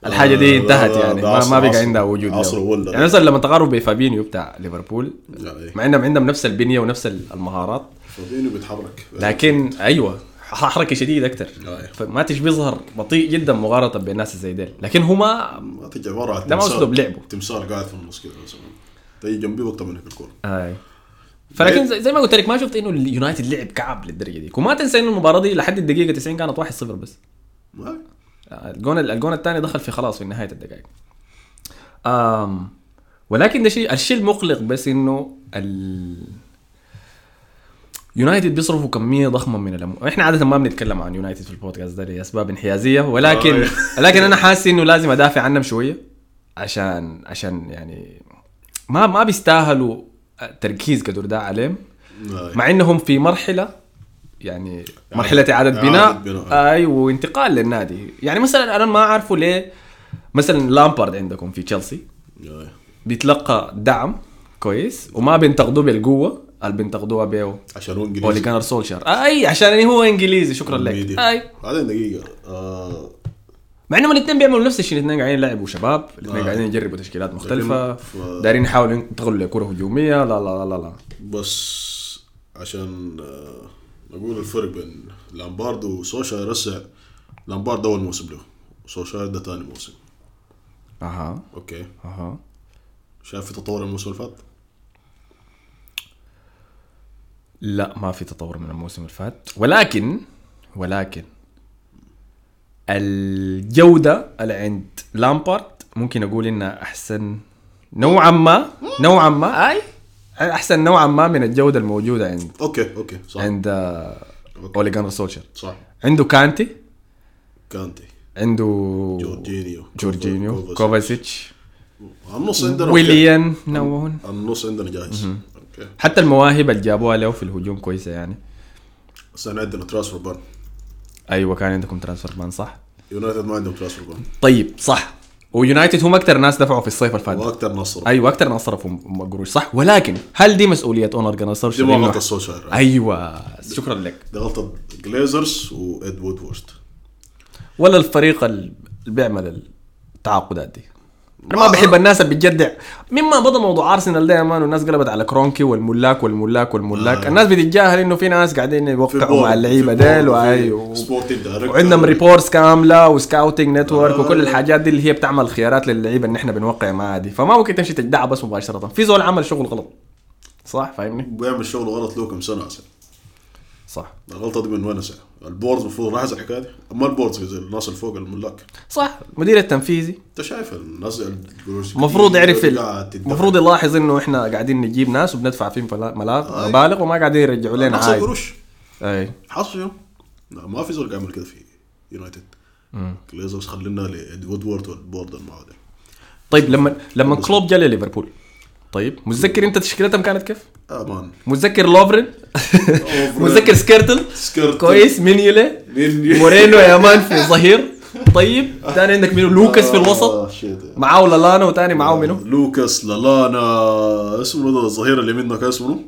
S1: الحاجه دي
S2: آه، لا،
S1: انتهت
S2: لا،
S1: يعني
S2: ده
S1: ما,
S2: عصر-
S1: ما بقى
S2: عصر-
S1: عندها وجود
S2: عصر
S1: له.
S2: ولا.
S1: يعني مثلا لما تقارب بفابينيو بتاع ليفربول
S2: يعني
S1: مع انهم عندهم نفس البنيه ونفس ال- المهارات
S2: فابينيو بيتحرك
S1: لكن ايوه ح- حركه شديده اكثر
S2: أيوة.
S1: فماتش بيظهر بطيء جدا مقارنه بالناس زي ديل لكن هو ما
S2: ما تجي عباره عن
S1: ده ما
S2: تمثال.
S1: أسلوب لعبه.
S2: تمثال قاعد في النص كده بس تجي جنبي وقت منك الكوره
S1: اي آه، فلكن زي زي ما قلت لك ما شفت انه اليونايتد لعب كعب للدرجه دي وما تنسى انه المباراه دي لحد الدقيقه 90 كانت 1-0 بس
S2: ما
S1: الجون الجون الثاني دخل في خلاص في نهايه الدقائق أم ولكن ده شيء الشيء المقلق بس انه ال يونايتد بيصرفوا كميه ضخمه من الاموال احنا عاده ما بنتكلم عن يونايتد في البودكاست ده لاسباب انحيازيه ولكن لكن انا حاسس انه لازم ادافع عنهم شويه عشان عشان يعني ما ما بيستاهلوا تركيز كدور ده عليهم
S2: ما-
S1: مع انهم في مرحله يعني مرحله اعاده
S2: آه. إعادة
S1: بناء
S2: بناء.
S1: اي وانتقال للنادي يعني مثلا انا ما اعرفه ليه مثلا لامبارد عندكم في تشيلسي
S2: ما-
S1: بيتلقى دعم كويس وما بينتقدوه بالقوه اللي بينتقدوها بيه
S2: عشان هو
S1: اولي
S2: انجليزي
S1: جانر سولشار اي عشان هو انجليزي شكرا لك
S2: ميدي.
S1: اي
S2: بعدين دقيقه آه،
S1: مع انهم الاثنين بيعملوا نفس الشيء الاثنين قاعدين يلعبوا شباب الاثنين
S2: آه.
S1: قاعدين يجربوا تشكيلات مختلفه
S2: لكن ف-
S1: دايرين يحاولوا ينتقلوا لكره هجوميه لا لا لا لا
S2: بس عشان آه، نقول الفرق بين لامبارد وسوشاير رسع لامبارد اول موسم له سوشاير ده ثاني موسم
S1: اها
S2: اوكي
S1: اها
S2: شايف في تطور الموسم اللي فات
S1: لا ما في تطور من الموسم اللي فات ولكن ولكن الجودة اللي عند لامبارد ممكن اقول انها احسن نوعا ما نوعا ما اي احسن نوعا ما من الجودة الموجودة عند
S2: اوكي اوكي صح
S1: عند آه،
S2: أوكي.
S1: اولي جانر سولشر
S2: صح
S1: عنده كانتي
S2: كانتي
S1: عنده
S2: جورجينيو
S1: جورجينيو
S2: كوفاسيتش.
S1: كوفاسيتش
S2: النص عندنا أوكي.
S1: ويليان نوعون
S2: النص عندنا جاهز اوكي
S1: حتى المواهب اللي جابوها له في الهجوم كويسة يعني
S2: بس احنا عندنا ترانسفير بان
S1: ايوه كان عندكم ترانسفير بان صح
S2: يونايتد ما عندهم ترانسفير بان
S1: طيب صح ويونايتد هم اكثر ناس دفعوا في الصيف الفات ده.
S2: واكثر ناس صرف
S1: ايوه اكثر ناس صرفوا م- قروش صح ولكن هل دي مسؤوليه اونر جناصر
S2: دي ما غلطه سولشاير
S1: ايوه شكرا لك
S2: دي غلطه جليزرز واد وودورد
S1: ولا الفريق اللي بيعمل التعاقدات دي انا ما بحب الناس اللي بتجدع مما بدا موضوع ارسنال ده يا مان والناس قلبت على كرونكي والملاك والملاك والملاك
S2: آه.
S1: الناس بتتجاهل انه في ناس قاعدين يوقعوا مع اللعيبه ديل وايوه
S2: سبورتنج دايركتور
S1: وعندهم ريبورتس كامله وسكاوتنج نتورك
S2: آه.
S1: وكل الحاجات دي اللي هي بتعمل خيارات للعيبه ان احنا بنوقع معاها دي فما ممكن تمشي تجدعها بس مباشره في زول عمل شغل غلط صح فاهمني
S2: بيعمل شغل غلط له كم سنه عسل
S1: صح
S2: الغلطه دي من وين عسل البورد المفروض لاحظ الحكايه دي اما البورد زي الناس اللي فوق الملاك
S1: صح المدير التنفيذي
S2: انت شايف الناس الجروش
S1: المفروض يعرف
S2: قاعد تدفع.
S1: المفروض يلاحظ انه احنا قاعدين نجيب ناس وبندفع فيهم فلا- ملا-
S2: آي.
S1: مبالغ وما قاعدين يرجعوا لنا
S2: نقص
S1: عايد
S2: القروش
S1: اي
S2: حصل شنو؟ لا ما في زول يعمل كده في يونايتد جليزرز خلينا لاد وودورد والبورد المعودة
S1: طيب لما لما كلوب جا لليفربول طيب متذكر انت تشكيلتهم كانت كيف؟
S2: اه مان
S1: متذكر لوفرين متذكر سكيرتل
S2: سكيرتل.
S1: كويس مينيولي
S2: مين-
S1: مورينو يا مان في الظهير طيب تاني عندك مين لوكاس في
S2: آه،
S1: الوسط
S2: شيت.
S1: معاه لالانو وتاني معاه منو؟
S2: لوكاس لالانا اسمه ده الظهير اللي منه كان اسمه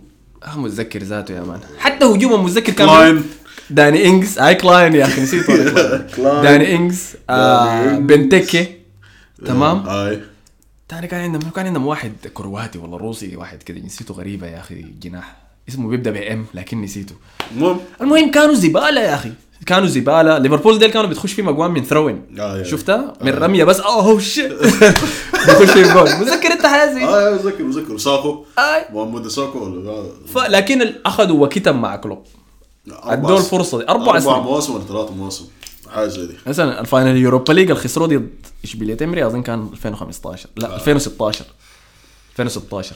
S1: اه متذكر ذاته يا مان حتى هجومهم متذكر كان
S2: كلاين.
S1: مين؟ داني انجز اي كلاين يا اخي نسيت ولا كلاين.
S2: كلاين.
S1: داني انجز آه،
S2: داني إنجز.
S1: بنتكي تمام
S2: هاي
S1: تاني كان عندهم كان عندهم واحد كرواتي ولا روسي واحد كده نسيته غريبه يا اخي جناح اسمه بيبدا بام لكن نسيته
S2: المهم
S1: المهم كانوا زباله يا اخي كانوا زباله ليفربول ديل كانوا بتخش فيهم اجوان من ثروين
S2: آه، آه.
S1: شفتها من رميه بس اوه شيت بتخش فيهم جول متذكر انت حاجه زي
S2: اه مذكر مذكر ساكو
S1: آي.
S2: محمد ساكو ولا
S1: آه. ف... لكن ال- اخذوا وكتم مع كلوب
S2: أربع
S1: ادوا
S2: سن-
S1: الفرصه دي اربع
S2: اربع
S1: سنين
S2: مواسم ولا ثلاث مواسم حاجه زي دي
S1: مثلا الفاينل يوروبا ليج اللي خسروه ضد اشبيليه تمري اظن كان 2015
S2: آه.
S1: لا 2016 2016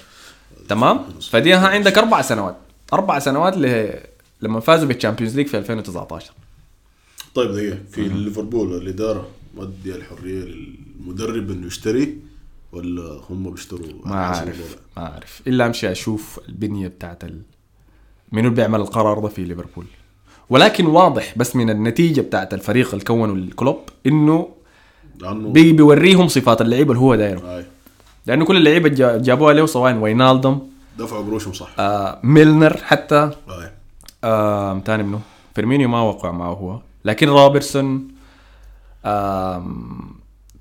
S1: تمام فدي ها عندك اربع سنوات اربع سنوات ل... لما فازوا بالتشامبيونز ليج في 2019
S2: طيب دقيقه في ليفربول الاداره مدي الحريه للمدرب انه يشتري ولا هم بيشتروا
S1: ما
S2: على حسب
S1: عارف
S2: الوضع؟
S1: ما عارف الا امشي اشوف البنيه بتاعت ال... منو اللي بيعمل القرار ده في ليفربول ولكن واضح بس من النتيجه بتاعت الفريق اللي كونه الكلوب انه
S2: لانه
S1: بي بيوريهم صفات اللعيبه اللي هو دايره
S2: هاي
S1: لانه كل اللعيبه جا- جابوها له سواء وينالدم
S2: دفعوا قروشهم صح
S1: آه ميلنر حتى
S2: هاي
S1: آم، تاني منو فيرمينيو ما وقع معه هو لكن روبرتسون آم،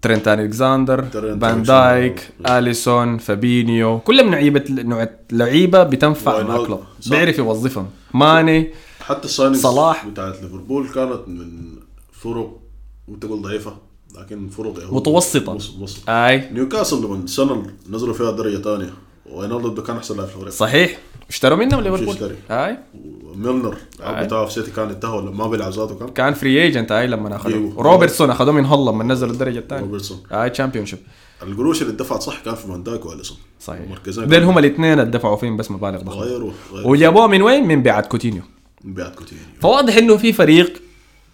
S1: ترينت الكساندر
S2: ترينت
S1: فان
S2: ألكساندر.
S1: دايك اليسون فابينيو كلهم لعيبه نوع لعيبه بتنفع
S2: واينالد.
S1: مع كلوب
S2: صح.
S1: بيعرف يوظفهم ماني
S2: حتى السايننج
S1: صلاح.
S2: بتاعت ليفربول كانت من فرق مو تقول ضعيفه لكن فرق يعني
S1: متوسطة.
S2: مس- متوسطة
S1: اي
S2: نيوكاسل لما السنه اللي نزلوا فيها درجه ثانيه وينالدو ده كان احسن لاعب في الفريق
S1: صحيح اشتروا منهم ليفربول
S2: اشتري.
S1: اي
S2: ميلنر اللاعب بتاعه في سيتي كان انتهى ولا ما بيلعب ذاته كان
S1: كان فري ايجنت اي لما اخذوه
S2: أيوه.
S1: روبرتسون اخذوه من هلا لما نزلوا الدرجه الثانيه
S2: روبرتسون
S1: اي تشامبيون شيب
S2: القروش اللي دفعت صح كان في فان دايك واليسون
S1: صحيح
S2: مركزين
S1: ديل هم الاثنين اللي دفعوا فيهم بس مبالغ ضخمه
S2: غيروا غيروا
S1: وجابوها من وين؟ من بيعت كوتينيو
S2: بعد كوتينيو
S1: فواضح انه في فريق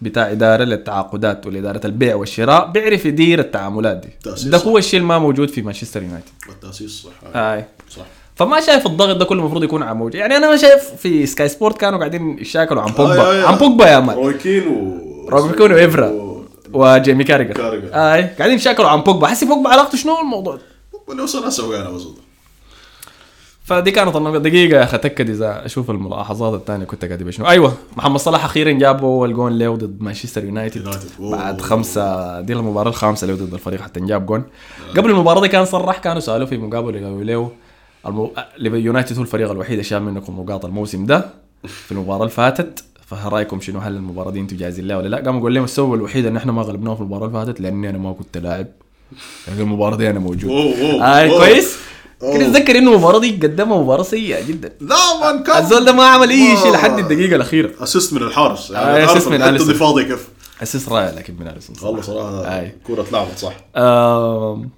S1: بتاع اداره للتعاقدات والاداره البيع والشراء بيعرف يدير التعاملات دي
S2: تأسيس
S1: ده
S2: صح.
S1: هو الشيء اللي ما موجود في مانشستر يونايتد
S2: التاسيس صح
S1: هاي
S2: صح
S1: فما شايف الضغط ده كله المفروض يكون على موجود يعني انا ما شايف في سكاي سبورت كانوا قاعدين يشاكلوا عن
S2: آي، آي،
S1: بوجبا
S2: آي.
S1: عن بوجبا يا مان
S2: آه، روي كين و
S1: روبن كون وإفرا.
S2: و-
S1: وجيمي كاريجر
S2: كاريجر.
S1: اي قاعدين يشاكلوا عن بوجبا حسي بوجبا علاقته شنو الموضوع
S2: ولو سنه سوي انا بظن
S1: فدي كانت النقطة دقيقة يا اخي اتاكد اذا اشوف الملاحظات الثانية كنت قاعد بشنو ايوه محمد صلاح اخيرا جاب اول جون له ضد مانشستر يونايتد
S2: يونايتد. أوه.
S1: بعد خمسة دي المباراة الخامسة له ضد الفريق حتى جاب جون قبل المباراة دي كان صرح كانوا سالوه في مقابلة قالوا له المو... يونايتد هو الفريق الوحيد اللي شال منكم نقاط الموسم ده في المباراة اللي فاتت فرايكم شنو هل المباراة دي انتم جاهزين لها ولا لا؟ قام قال لهم السبب الوحيد ان احنا ما غلبناهم في المباراة اللي فاتت لاني انا ما كنت لاعب لكن المباراة دي انا موجود.
S2: أوه، أوه،
S1: آه
S2: أوه.
S1: كويس؟
S2: أوه.
S1: كنت اتذكر انه المباراة دي قدمها مباراة سيئة جدا.
S2: لا مان كان
S1: الزول ده ما عمل اي شيء
S2: آه، ما-
S1: لحد الدقيقة الأخيرة.
S2: اسيست من الحارس
S1: آه،
S2: أنا
S1: assist من
S2: عارف الحته
S1: أليسون.
S2: دي فاضيه كيف
S1: اسيس رائع لكن من اليسون
S2: والله صراحه
S1: آي.
S2: الكره اتلعبت صح
S1: آم،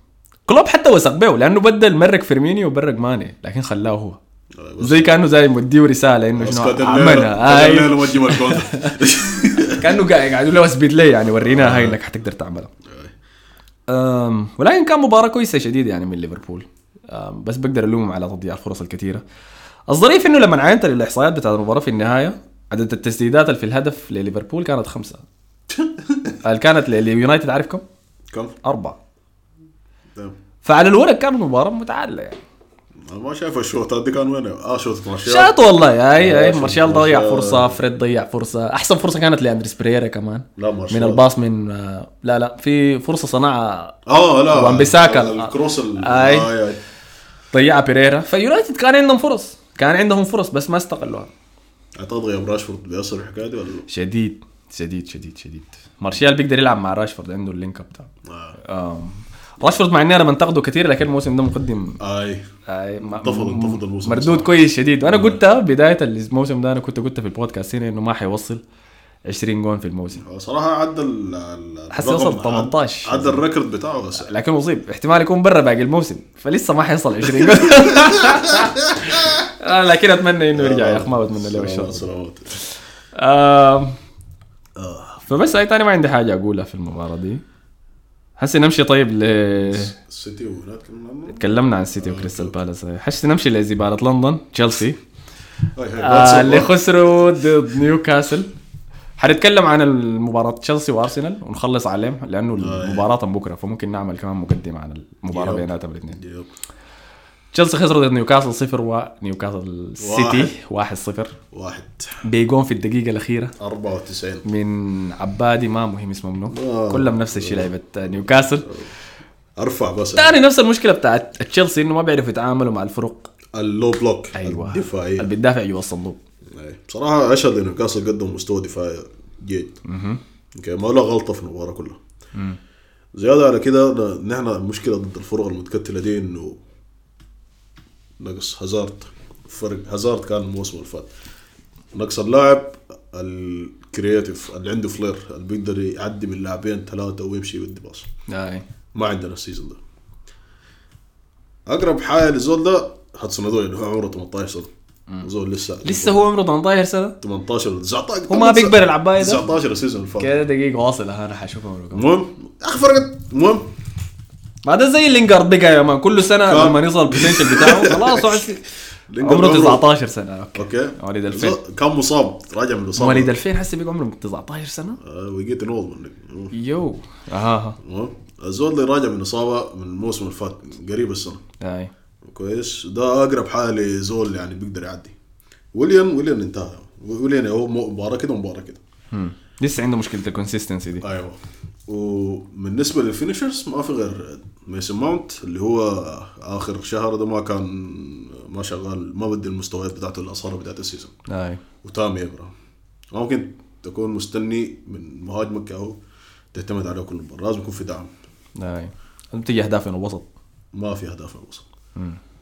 S1: كلوب حتى وثق بيه لانه بدل مرق فيرمينيو وبرق ماني لكن خلاه هو زي كانه زي مديه رساله انه شنو آه، عملنا
S2: الليل
S1: اي
S2: ما تجيب الجول
S1: كانه قاعد قاعد يقول له اثبت لي يعني ورينا هاي انك حتقدر تعملها أم، ولكن كان مباراه كويسه شديد يعني من ليفربول أم، بس بقدر الومهم على تضييع الفرص الكثيره الظريف انه لما عينت الاحصائيات بتاعت المباراه في النهايه عدد التسديدات اللي في الهدف لليفربول كانت خمسه اللي كانت لليونايتد عارف كم؟
S2: كم؟
S1: اربعه
S2: طيب.
S1: فعلى الورق كانت مباراه متعادله يعني
S2: انا ما شايف الشوطات دي كان وين اه شوطة مارشال
S1: شات والله اي اي
S2: شات
S1: مارشال ضيع
S2: مارشال.
S1: فرصه فريد ضيع فرصه احسن فرصه كانت لاندريس بريرا كمان
S2: لا مارشال
S1: من الباص من آه، لا لا في فرصه صنعها
S2: اه لا
S1: وان بيساكا. آه،
S2: الكروس ال- آه،
S1: آي.
S2: آي، آي.
S1: ضيعها بريرا فيونايتد كان عندهم فرص كان عندهم فرص بس ما استغلوها
S2: اعتقد غياب راشفورد بيأثر الحكايه دي ولا
S1: شديد شديد شديد شديد مارشال بيقدر يلعب مع راشفورد عنده اللينك اب بتاعه
S2: آه.
S1: آم، راشفورد مع اني انا بنتقده كثير لكن الموسم ده مقدم
S2: اي
S1: آه، ما-
S2: انتفض- انتفض الموسم
S1: مردود
S2: بصراحة.
S1: كويس شديد وانا قلتها بدايه الموسم ده انا كنت قلتها في البودكاست هنا انه ما حيوصل 20 جون في الموسم
S2: صراحه عدى ال- ال-
S1: حس يوصل
S2: الرقم،
S1: 18.
S2: عدى الريكورد بتاعه بس
S1: لكن مصيب احتمال يكون برا باقي الموسم فلسه ما حيصل 20 جول آه، لكن اتمنى انه يرجع يا اخ ما بتمنى له الشر
S2: سلامات
S1: آم،
S2: آه.
S1: فبس اي تاني ما عندي حاجه اقولها في المباراه دي هسه نمشي طيب ل
S2: السيتي وهناك كمان عنه؟
S1: تكلمنا عن السيتي وكريستال بالاس حسي نمشي لزباله لندن تشيلسي
S2: هاي هاي
S1: آه، اللي
S2: واتساب.
S1: خسروا ضد نيوكاسل حنتكلم عن المباراة تشيلسي وارسنال ونخلص عليهم لانه المباراة بكره فممكن نعمل كمان مقدمة عن المباراة
S2: يلا.
S1: بيناتهم الاثنين
S2: يب.
S1: تشيلسي خسروا ضد نيوكاسل 0 ونيوكاسل سيتي 1-0
S2: واحد
S1: بيجون في الدقيقة الأخيرة
S2: 94
S1: من عبادي ما مهم اسمه منه
S2: آه.
S1: كلهم نفس الشيء لعبة نيوكاسل
S2: ارفع بس
S1: تاني نفس المشكلة بتاعت تشيلسي انه ما بيعرفوا يتعاملوا مع الفرق
S2: اللو بلوك
S1: ايوه
S2: الدفاعية
S1: اللي بتدافع جوا الصندوق
S2: أي. إيه. بصراحة اشهد انه نيوكاسل قدم مستوى دفاعي جيد اوكي ما له غلطة في المباراة كلها زيادة على كده أنا- نحن المشكلة ضد الفرق المتكتلة دي انه نقص هازارد فرق هازارد كان الموسم اللي فات نقص اللاعب الكرياتيف اللي عنده فلير اللي بيقدر يعدي من لاعبين ثلاثة ويمشي يودي باص
S1: اي
S2: ما عندنا السيزون ده اقرب حاجه للزول ده هاتسون ادوي اللي هو عمره 18 سنه زول لسه
S1: لسه هو عمره 18 سنة
S2: 18 19
S1: هو ما بيكبر العباية ده.
S2: 19 السيزون اللي فات
S1: كده دقيقة واصلة انا حشوفها مرة كمان.
S2: المهم يا اخي فرقت المهم
S1: ما ده زي لينجارد بقى يا مان كل سنة
S2: كان.
S1: لما يوصل البوتنشل بتاعه خلاص وعسي.
S2: لينجارد
S1: عمره 19 سنة اوكي
S2: اوكي
S1: وليد الفين.
S2: الزول كان مصاب راجع من آه، الاصابه
S1: مواليد 2000 حسي بيقى عمره 19 سنة
S2: ويجيت نولد منك المهم،
S1: يو اها
S2: المهم، الزول اللي راجع من اصابه من الموسم اللي فات قريب السنه
S1: اي
S2: كويس ده اقرب حاجه لزول يعني بيقدر يعدي ويليام ويليام انتهى ويليام هو مو- مباراه كده ومباراه كده
S1: هم. لسه عنده مشكلة الكونسيستنسي دي
S2: ايوه وبالنسبه للفينشرز ما في غير ميسون ماونت اللي هو اخر شهر ده ما كان ما شغال ما بدي المستويات بتاعته الاصاله بتاعت السيزون
S1: اي
S2: وتامي ابراهام ممكن تكون مستني من مهاجمك او تعتمد عليه كل مباراه لازم يكون في دعم
S1: اي بتجي اهداف من الوسط
S2: ما في اهداف الوسط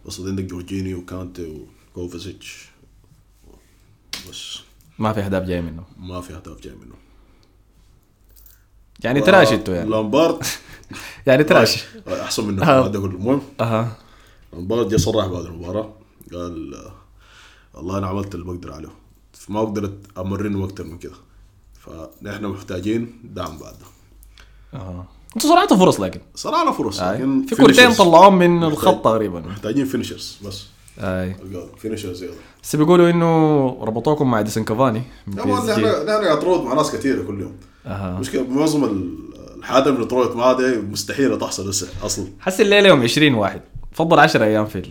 S2: وسط عندك جورجيني وكانتي وكوفازيتش بس
S1: ما في اهداف جاي منه
S2: ما في اهداف جاي منه
S1: يعني تراشته يعني
S2: لامبارد
S1: يعني تراش
S2: احسن منه
S1: آه.
S2: هذا كله المهم
S1: اها
S2: لامبارد جا صرح بعد المباراة قال آه، والله انا عملت اللي بقدر عليه فما قدرت امرنه اكثر من كده فنحن محتاجين دعم بعد ده.
S1: اها آه. انتوا صنعتوا فرص لكن
S2: صراحة فرص
S1: أي.
S2: لكن
S1: آه. في كورتين
S2: finishers.
S1: طلعوهم من الخط تقريبا
S2: محتاجين فينشرز بس
S1: اي
S2: فينشرز يلا
S1: بس بيقولوا انه ربطوكم مع ديسن كافاني من
S2: لا،
S1: بي
S2: ما
S1: إس جي.
S2: نحن نحن اتروض مع ناس كثيره كل يوم
S1: اها
S2: المشكله معظم ال- الحاجات اللي بنتروض معها دي مستحيله تحصل لسه اصلا
S1: حس الليله يوم 20 واحد تفضل 10 ايام في ال-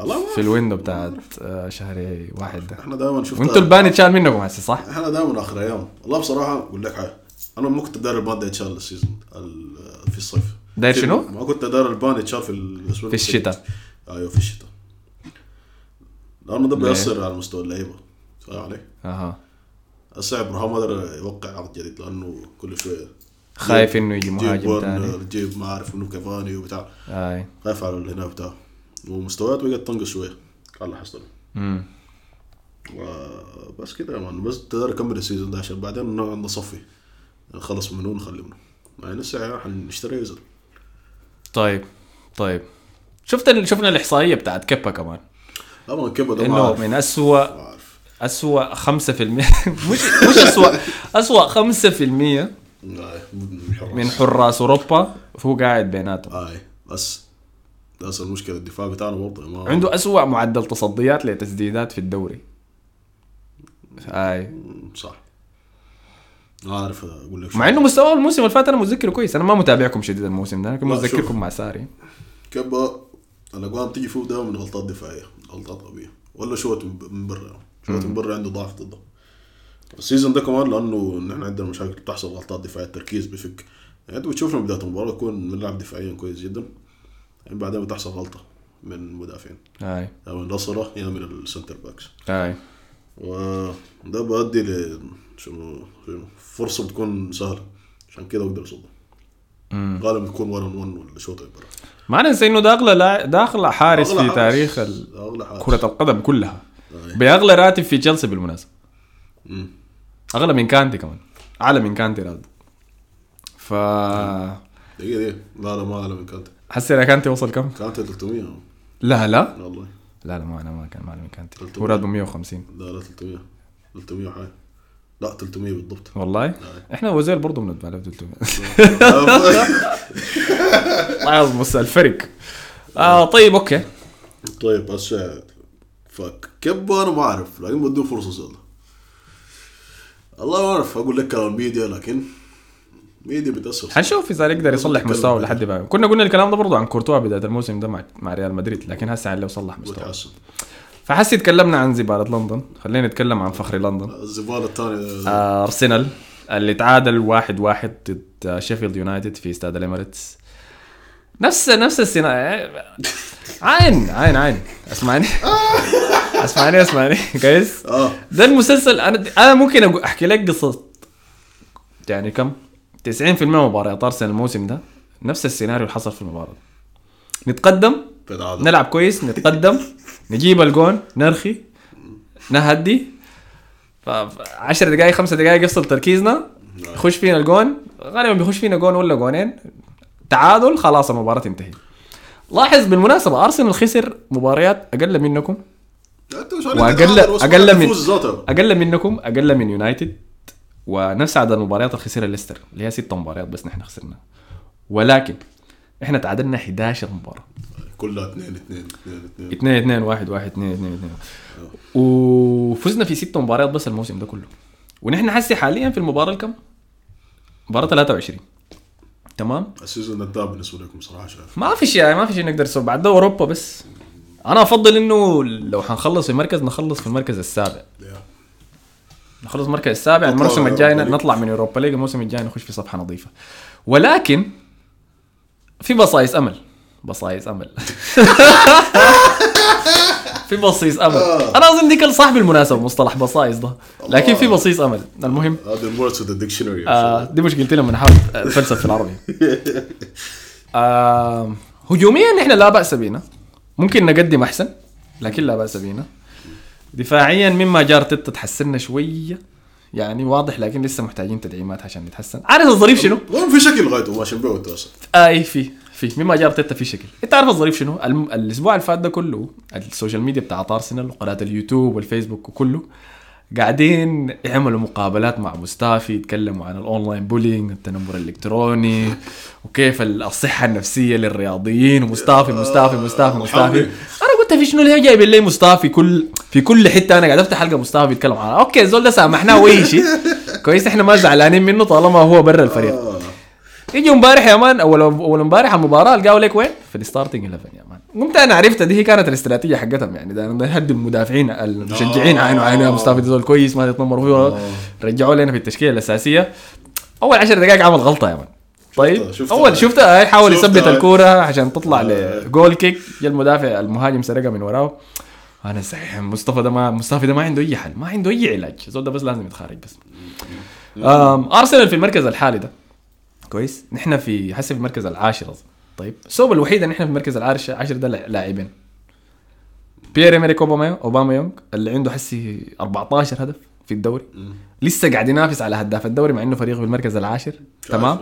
S2: الله ما-
S1: في الويندو بتاعت آه، شهر واحد ده
S2: احنا دائما شفت
S1: وانتوا البان اتشال منكم هسه صح؟
S2: احنا دائما اخر ايام والله بصراحه اقول لك حاجه انا ما كنت داير البان ده يتشال السيزون ال- في الصيف
S1: داير
S2: في-
S1: شنو؟
S2: ما كنت داير البان يتشال في الاسبوع
S1: في الشتاء.
S2: ايوه في الشتاء لانه ده
S1: ليه؟
S2: بيأثر على مستوى اللعيبه فاهم علي؟
S1: اها
S2: هسه ابراهام ما قدر يوقع عقد جديد لانه كل شويه
S1: خايف انه يجي
S2: جيب
S1: مهاجم ثاني
S2: ورنر جيب ما اعرف منو كافاني وبتاع
S1: اي
S2: خايف على الهنا بتاعه ومستوياته بقت تنقص شويه على حصل
S1: امم
S2: بس كده يا مان بس تقدر اكمل السيزون ده عشان بعدين نوعاً نصفي نخلص منه ونخلي منه يعني لسه حنشتري يوزر
S1: طيب طيب شفت ال- شفنا الاحصائيه بتاعت كيبا كمان
S2: طبعا كيبا ده ما
S1: انه
S2: عارف
S1: من اسوء
S2: ما عارف
S1: اسوء 5% مش مش اسوء اسوء 5%
S2: آي، من حراس
S1: من حراس اوروبا هو قاعد بيناتهم
S2: اي بس بس المشكله الدفاع بتاعنا برضه ما
S1: عنده اسوء معدل تصديات لتسديدات في الدوري هاي
S2: مم، صح ما عارف اقول لك شو.
S1: مع انه مستواه الموسم اللي فات انا متذكره كويس انا ما متابعكم شديد الموسم ده لكن
S2: لا،
S1: متذكركم
S2: شوف.
S1: مع ساري
S2: كبا الاجوان بتيجي فيه ده من غلطات دفاعيه غلطات قويه ولا شوت من من برا شوت من برا عنده ضعف ضده السيزون ده كمان لانه نحن عندنا مشاكل بتحصل غلطات دفاعيه التركيز بفك يعني انت بتشوفنا بدايه المباراه نكون بنلعب دفاعيا كويس جدا يعني بعدين بتحصل غلطه من المدافعين
S1: هاي
S2: يا من الأصلة يا من السنتر باكس
S1: هاي
S2: وده بيؤدي ل شنو شنو فرصه بتكون سهله عشان كده اقدر اصده غالبا بيكون 1 اون 1 ولا شوط برا
S1: ما ننسى انه ده اغلى لاع- ده اغلى حارس في تاريخ ال-
S2: اغلى حارس
S1: كرة القدم كلها
S2: أي.
S1: باغلى راتب في تشيلسي بالمناسبة
S2: مم.
S1: اغلى من كانتي كمان اعلى من كانتي راتب ف
S2: دقيقة دقيقة لا لا ما اعلى من كانت
S1: حسي انا كانتي وصل كم؟
S2: كانت 300
S1: لا لا
S2: والله
S1: لا لا ما انا ما كان ما أنا من كانتي
S2: قلت
S1: هو راتبه 150
S2: لا لا 300 300 حاجة لا 300 بالضبط
S1: والله احنا وزير برضه بندفع له 300 الله يعظم بس الفرق آه طيب اوكي
S2: طيب هسه فك كب انا ما اعرف لكن بدون فرصه زيادة الله ما اعرف اقول لك كلام ميديا لكن ميديا بتاثر
S1: حنشوف اذا يقدر يصلح مستواه لحد ما كنا قلنا الكلام ده برضه عن كورتوا بدايه الموسم ده مع مع ريال مدريد لكن هسه لو صلح مستواه
S2: بتحسن
S1: فحسي تكلمنا عن زباله لندن خلينا نتكلم عن فخر لندن
S2: الزباله الثانيه
S1: آه، ارسنال اللي تعادل واحد واحد ضد آه، شيفيلد يونايتد في استاد الاميريتس نفس نفس السيناريو عين عين عين اسمعني اسمعني اسمعني كويس
S2: اه
S1: ده المسلسل انا انا ممكن أقو- احكي لك قصه يعني كم 90% من مباريات ارسنال الموسم ده نفس السيناريو اللي حصل في المباراه دي. نتقدم
S2: بتعادل
S1: نلعب كويس نتقدم نجيب الجون نرخي نهدي ف 10 دقائق 5 دقائق يفصل تركيزنا يخش فينا الجون غالبا بيخش فينا جون ولا جونين تعادل خلاص المباراه انتهت لاحظ بالمناسبه ارسنال خسر مباريات اقل منكم
S2: انت مش عارف
S1: واقل
S2: تتعادل بس ما
S1: اقل من
S2: تفوز ذاتها.
S1: اقل منكم اقل من يونايتد ونفس عدد المباريات اللي خسرها ليستر اللي هي ست مباريات بس نحن خسرناها ولكن احنا تعادلنا 11 مباراه
S2: كلها 2 2 2 2
S1: 2 2 1 1 2 2 2 وفزنا في ست مباريات بس الموسم ده كله ونحن حسي حاليا في المباراه الكم؟ مباراه 23 تمام؟
S2: السيزون الداب بالنسبه لكم صراحه شايف
S1: ما في شيء ما في شيء نقدر نسوي بعد ده اوروبا بس انا افضل انه لو حنخلص في مركز نخلص في المركز السابع
S2: يا.
S1: نخلص المركز السابع
S2: نطلع
S1: الموسم
S2: من
S1: الجاي
S2: أوروبا ليج.
S1: نطلع من اوروبا ليج الموسم الجاي نخش في صفحه نظيفه ولكن في بصايص امل بصايص امل في بصيص امل انا اظن دي كان صاحبي المناسب مصطلح بصايص ده لكن في بصيص امل المهم
S2: هذا الوردز اوف ذا ديكشنري
S1: آه دي مشكلتي لما نحاول اتفلسف في العربي آه هجوميا احنا لا باس بينا ممكن نقدم احسن لكن لا باس بينا دفاعيا مما جار تتا تحسنا شويه يعني واضح لكن لسه محتاجين تدعيمات عشان نتحسن عارف الظريف شنو؟
S2: المهم في شكل غايته ماشي بيه انت اصلا
S1: اي آه، إيه، في في مما جار تتا في شكل انت عارف الظريف شنو الم... الاسبوع اللي فات ده كله السوشيال ميديا بتاعت ارسنال وقناه اليوتيوب والفيسبوك وكله قاعدين يعملوا مقابلات مع مستافي يتكلموا عن الاونلاين بولينج التنمر الالكتروني وكيف ال- الصحه النفسيه للرياضيين ومستافي مستافي مستافي مستافي
S2: محمد.
S1: انا قلت في شنو اللي هي جايبين لي مستافي كل في كل حته انا قاعد افتح حلقه مستافي يتكلم عنها اوكي زول ده سامحناه وي شيء كويس احنا ما زعلانين منه طالما هو برا الفريق
S2: آه.
S1: يجي امبارح يا مان اول اول امبارح المباراه لقاوا لك وين؟ في الستارتنج 11 يا مان قمت انا عرفت دي هي كانت الاستراتيجيه حقتهم يعني ده ده هدوا المدافعين المشجعين عينوا عينوا يا مصطفى ده زول كويس ما يتنمروا فيه رجعوا لنا في التشكيله الاساسيه اول 10 دقائق عمل غلطه يا مان طيب
S2: شفتها.
S1: اول شفتها هاي حاول
S2: شفتها.
S1: يثبت الكوره عشان تطلع
S2: آه.
S1: لجول كيك جا المدافع المهاجم سرقها من وراه انا صحيح مصطفى ده ما مصطفى ده ما عنده اي حل ما عنده اي علاج زول ده بس لازم يتخارج بس آم، ارسنال في المركز الحالي ده كويس نحن في حسب المركز العاشر اظن طيب السوبر الوحيد ان احنا في المركز العاشر عشر ده لا- لاعبين بيير امريك اوباما اوباما يونغ اللي عنده حسي 14 هدف في الدوري لسه قاعد ينافس على هداف الدوري مع انه فريقه في المركز العاشر تمام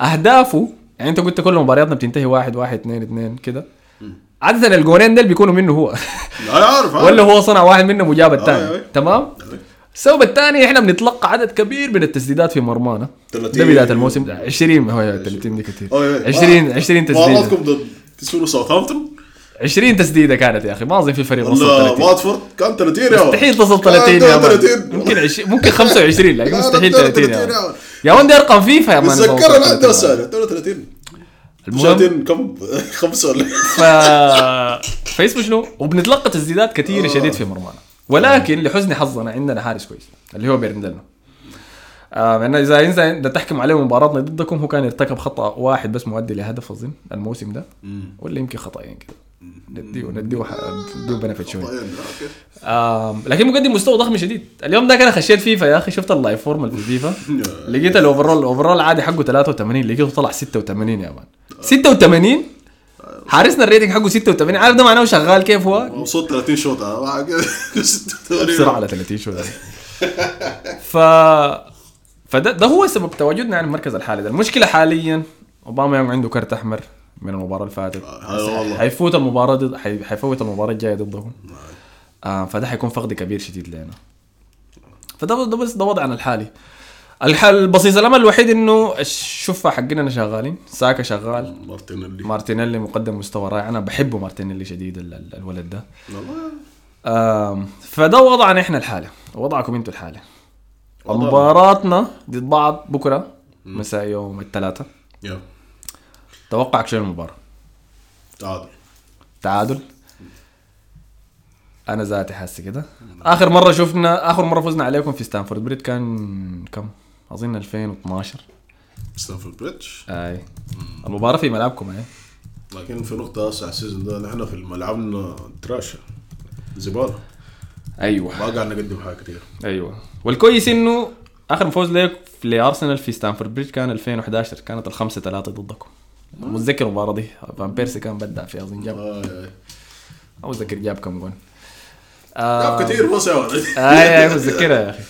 S1: اهدافه يعني انت قلت كل مبارياتنا بتنتهي واحد واحد اثنين اثنين كده عاده الجولين دول بيكونوا منه هو
S2: لا عارف عارف.
S1: ولا هو صنع واحد منهم وجاب
S2: آه،
S1: الثاني
S2: آه.
S1: تمام السبب الثاني احنا بنتلقى عدد كبير من التسديدات في مرمانا
S2: 30.
S1: ده بدايه الموسم ده 20 هو 30 دي كثير
S2: آه، آه.
S1: 20 20
S2: مباراتكم
S1: تسديده
S2: ضد تسولو ساوثهامبتون
S1: 20 تسديده كانت يا اخي ما اظن في فريق وصل
S2: ولا
S1: 30
S2: واتفورد كان 30 يا ولد.
S1: مستحيل تصل
S2: كان
S1: 30 يا مان
S2: 30.
S1: ممكن 20 ممكن 25 لكن
S2: آه،
S1: مستحيل
S2: 30
S1: 30 يا
S2: يا
S1: مان
S2: مان.
S1: يا مان دي ارقام فيفا يا مان
S2: متذكر انا عندي
S1: 32.
S2: رساله 32
S1: المهم
S2: شاتين كم خمسه ولا إيه؟
S1: ف فاسمه شنو؟ وبنتلقى تسديدات كثيره شديد في مرمانا ولكن لحسن حظنا عندنا حارس كويس اللي هو بيرندلنا آه لأن اذا انسان ده تحكم عليه مباراتنا ضدكم هو كان يرتكب خطا واحد بس مؤدي لهدف اظن الموسم ده ولا يمكن خطأين كده نديه نديه نديه بنفيت شوي
S2: طيب، أوكي.
S1: آم، لكن مقدم مستوى ضخم شديد اليوم ده انا خشيت فيفا يا اخي شفت اللايف فورمال في فيفا لقيت الاوفرول الاوفرول العادي حقه 83 لقيته طلع 86 يا مان 86 حارسنا الريتنج حقه 86 عارف ده معناه شغال كيف هو
S2: وصلت 30 شوط آه، أنا ما أعرف. 86.
S1: بسرعه على 30 شو ده. ف فده ده هو سبب تواجدنا عن المركز الحالي ده المشكله حاليا اوباما يوم عنده كرت احمر من المباراه اللي فاتت
S2: هاي والله.
S1: حيفوت المباراه ضد حي- حيفوت المباراه الجايه ضدهم آه فده حيكون فقد كبير شديد لنا فده ده بس ده وضعنا الحالي الحل البسيط الامل الوحيد انه الشفه حقنا شغالين ساكا شغال
S2: مارتينيلي
S1: مارتينيلي مقدم مستوى رائع انا بحبه مارتينيلي شديد ال- ال- الولد ده
S2: والله
S1: آم، فده وضعنا احنا الحاله وضعكم انتم الحاله
S2: والله.
S1: مباراتنا ضد بعض بكره مساء يوم الثلاثاء
S2: يا
S1: توقعك شنو المباراه
S2: تعادل
S1: تعادل انا ذاتي حاسس كده اخر مره شفنا اخر مره فزنا عليكم في ستانفورد بريد كان كم اظن 2012
S2: ستانفورد بريتش
S1: اي المباراه في ملعبكم اي
S2: لكن في نقطة هسه على السيزون ده نحن في ملعبنا تراشة زبالة
S1: ايوه
S2: ما قاعد نقدم حاجة كتير
S1: ايوه والكويس انه اخر فوز ليك لارسنال في ستانفورد بريدج كان 2011 كانت الخمسة ثلاثة ضدكم متذكر المباراة دي فان بيرسي كان بدع فيها اظن جاب
S2: آه آه.
S1: او متذكر جاب كم جون آه،
S2: لعب كتير بس يا ولد
S1: اي اي متذكرها آه، يا اخي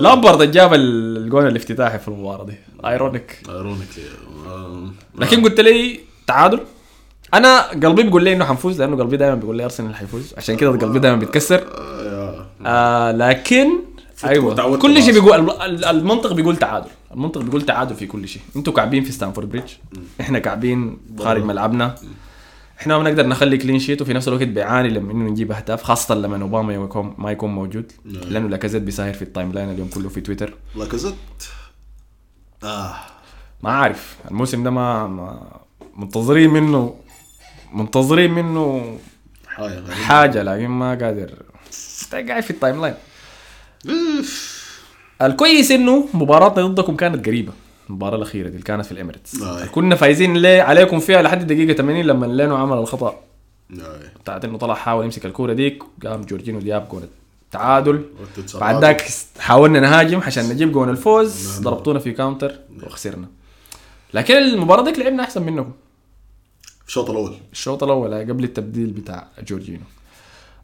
S1: لامبرد جاب الجون الافتتاحي في المباراة دي ايرونيك
S2: ايرونيكلي آه.
S1: لكن قلت لي تعادل انا قلبي بيقول لي انه حنفوز لانه قلبي دائما بيقول لي ارسنال حيفوز عشان كده قلبي دائما بيتكسر آه لكن ايوه
S2: تعودت
S1: كل شيء
S2: خلاص.
S1: بيقول ال- ال- المنطق بيقول تعادل المنطق بيقول تعادل في كل شيء انتوا كعبين في ستانفورد بريدج احنا كعبين خارج ملعبنا احنا ما بنقدر نخلي كلين شيت وفي نفس الوقت بيعاني لما انه نجيب اهداف خاصه لما اوباما يكون ما يكون موجود
S2: نعم.
S1: لانه لاكازيت بيساير في التايم لاين اليوم كله في تويتر
S2: لاكازيت اه
S1: ما عارف الموسم ده ما, ما منتظرين منه منتظرين منه
S2: حاجة غريبة.
S1: حاجه لكن ما قادر قاعد في التايم لاين الكويس انه مباراتنا ضدكم كانت قريبه المباراه الاخيره دي اللي كانت في الاميريتس
S2: آه.
S1: كنا فايزين ليه عليكم فيها لحد الدقيقه 80 لما لينو عمل الخطا
S2: آه.
S1: بتاعت انه طلع حاول يمسك الكوره ديك قام جورجينو جاب جول التعادل
S2: وقت
S1: بعد ذاك حاولنا نهاجم عشان نجيب جول الفوز ضربتونا في كاونتر وخسرنا لكن المباراه ديك لعبنا احسن منكم
S2: الشوط الاول
S1: الشوط الاول قبل التبديل بتاع جورجينو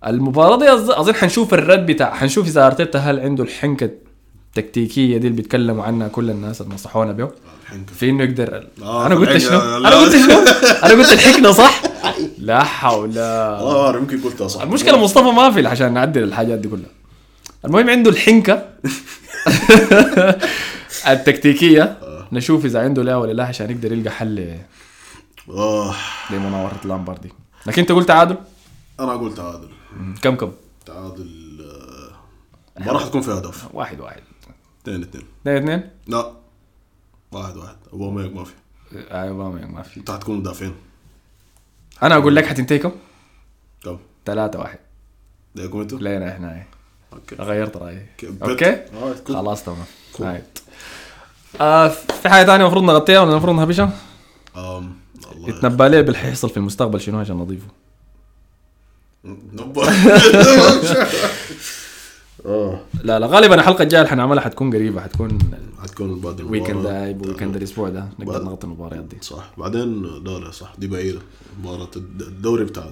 S1: المباراه دي أظ- اظن حنشوف الرد بتاع حنشوف اذا ارتيتا هل عنده الحنكه التكتيكيه دي اللي بيتكلموا عنها كل الناس اللي نصحونا بيه
S2: الحنكة
S1: في انه يقدر
S2: آه،
S1: انا قلت
S2: الحنكة.
S1: شنو؟
S2: لا.
S1: انا قلت شنو؟ انا قلت الحكمه صح؟ لا حول
S2: الله اعلم آه، يمكن قلتها صح
S1: المشكله مصطفى ما في عشان نعدل الحاجات دي كلها المهم عنده الحنكه التكتيكيه
S2: آه.
S1: نشوف اذا عنده لا ولا لا عشان يقدر يلقى حل ل-
S2: اه
S1: لمناوره لامباردي لكن انت قلت تعادل
S2: انا اقول تعادل
S1: كم كم؟
S2: تعادل آه، ما راح تكون في هدف
S1: واحد واحد
S2: اثنين اثنين
S1: اثنين اثنين
S2: لا واحد واحد اوباما ما في
S1: ايوه ما في
S2: انت حتكون مدافعين
S1: انا اقول لك حتنتهي كم؟
S2: كم؟
S1: ثلاثة واحد
S2: دقيقكم انتوا؟
S1: لينا احنا هاي.
S2: اوكي
S1: غيرت رايي
S2: بت-
S1: اوكي؟
S2: آه، كل-
S1: خلاص تمام
S2: Cool.
S1: هاي آه في حاجة ثانية المفروض نغطيها ولا المفروض نهبشها؟
S2: آم، الله يعين.
S1: نتنبأ ليه باللي حيحصل في المستقبل شنو عشان نضيفه
S2: نبر اه
S1: لا لا غالبا الحلقة الجاية اللي حنعملها حتكون قريبة حتكون
S2: حتكون بعد
S1: الويكند
S2: المباراة.
S1: هاي ويكند الاسبوع ده نقدر
S2: بعد-
S1: نغطي المباريات دي
S2: صح بعدين دوري صح دي بعيدة مباراة الد- الدوري بتاع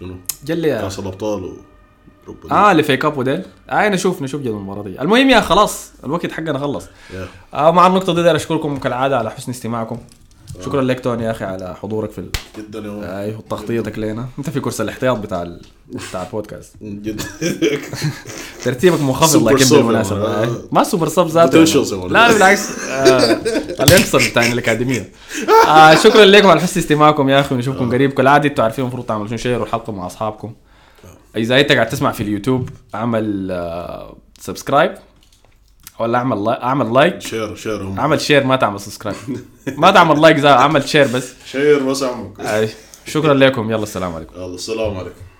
S2: شنو؟
S1: جلي يا
S2: كأس الأبطال و
S1: اه اللي في كاب وديل آه نشوف نشوف جدول المباراة دي المهم يا خلاص الوقت حقنا خلص
S2: يا.
S1: آه مع النقطة دي داير اشكركم كالعادة على حسن استماعكم شكرا لك توني يا اخي على حضورك في ال...
S2: جدا يا ولد.
S1: ايوه وتغطيتك لنا انت في كورس الاحتياط بتاع ال... بتاع البودكاست
S2: جدا
S1: ترتيبك منخفض
S2: سوبر
S1: لكن
S2: سوب
S1: بالمناسبه
S2: يا
S1: آه.
S2: ولد.
S1: ما سوبر سب ذاته
S2: Potentials يا ولد.
S1: لا لا بالعكس آه، خلينا نكسر بتاع الاكاديميه آه شكرا لكم على حسن استماعكم يا اخي ونشوفكم قريب كالعاده انتوا عارفين المفروض تعملوا شنو شير الحلقه مع اصحابكم اذا انت قاعد تسمع في اليوتيوب اعمل سبسكرايب ولا اعمل لايك اعمل لايك
S2: شير شير هم.
S1: اعمل شير ما تعمل سبسكرايب ما تعمل لايك زي اعمل شير بس
S2: شير بس عمك
S1: آه، شكرا لكم يلا السلام عليكم
S2: يلا السلام عليكم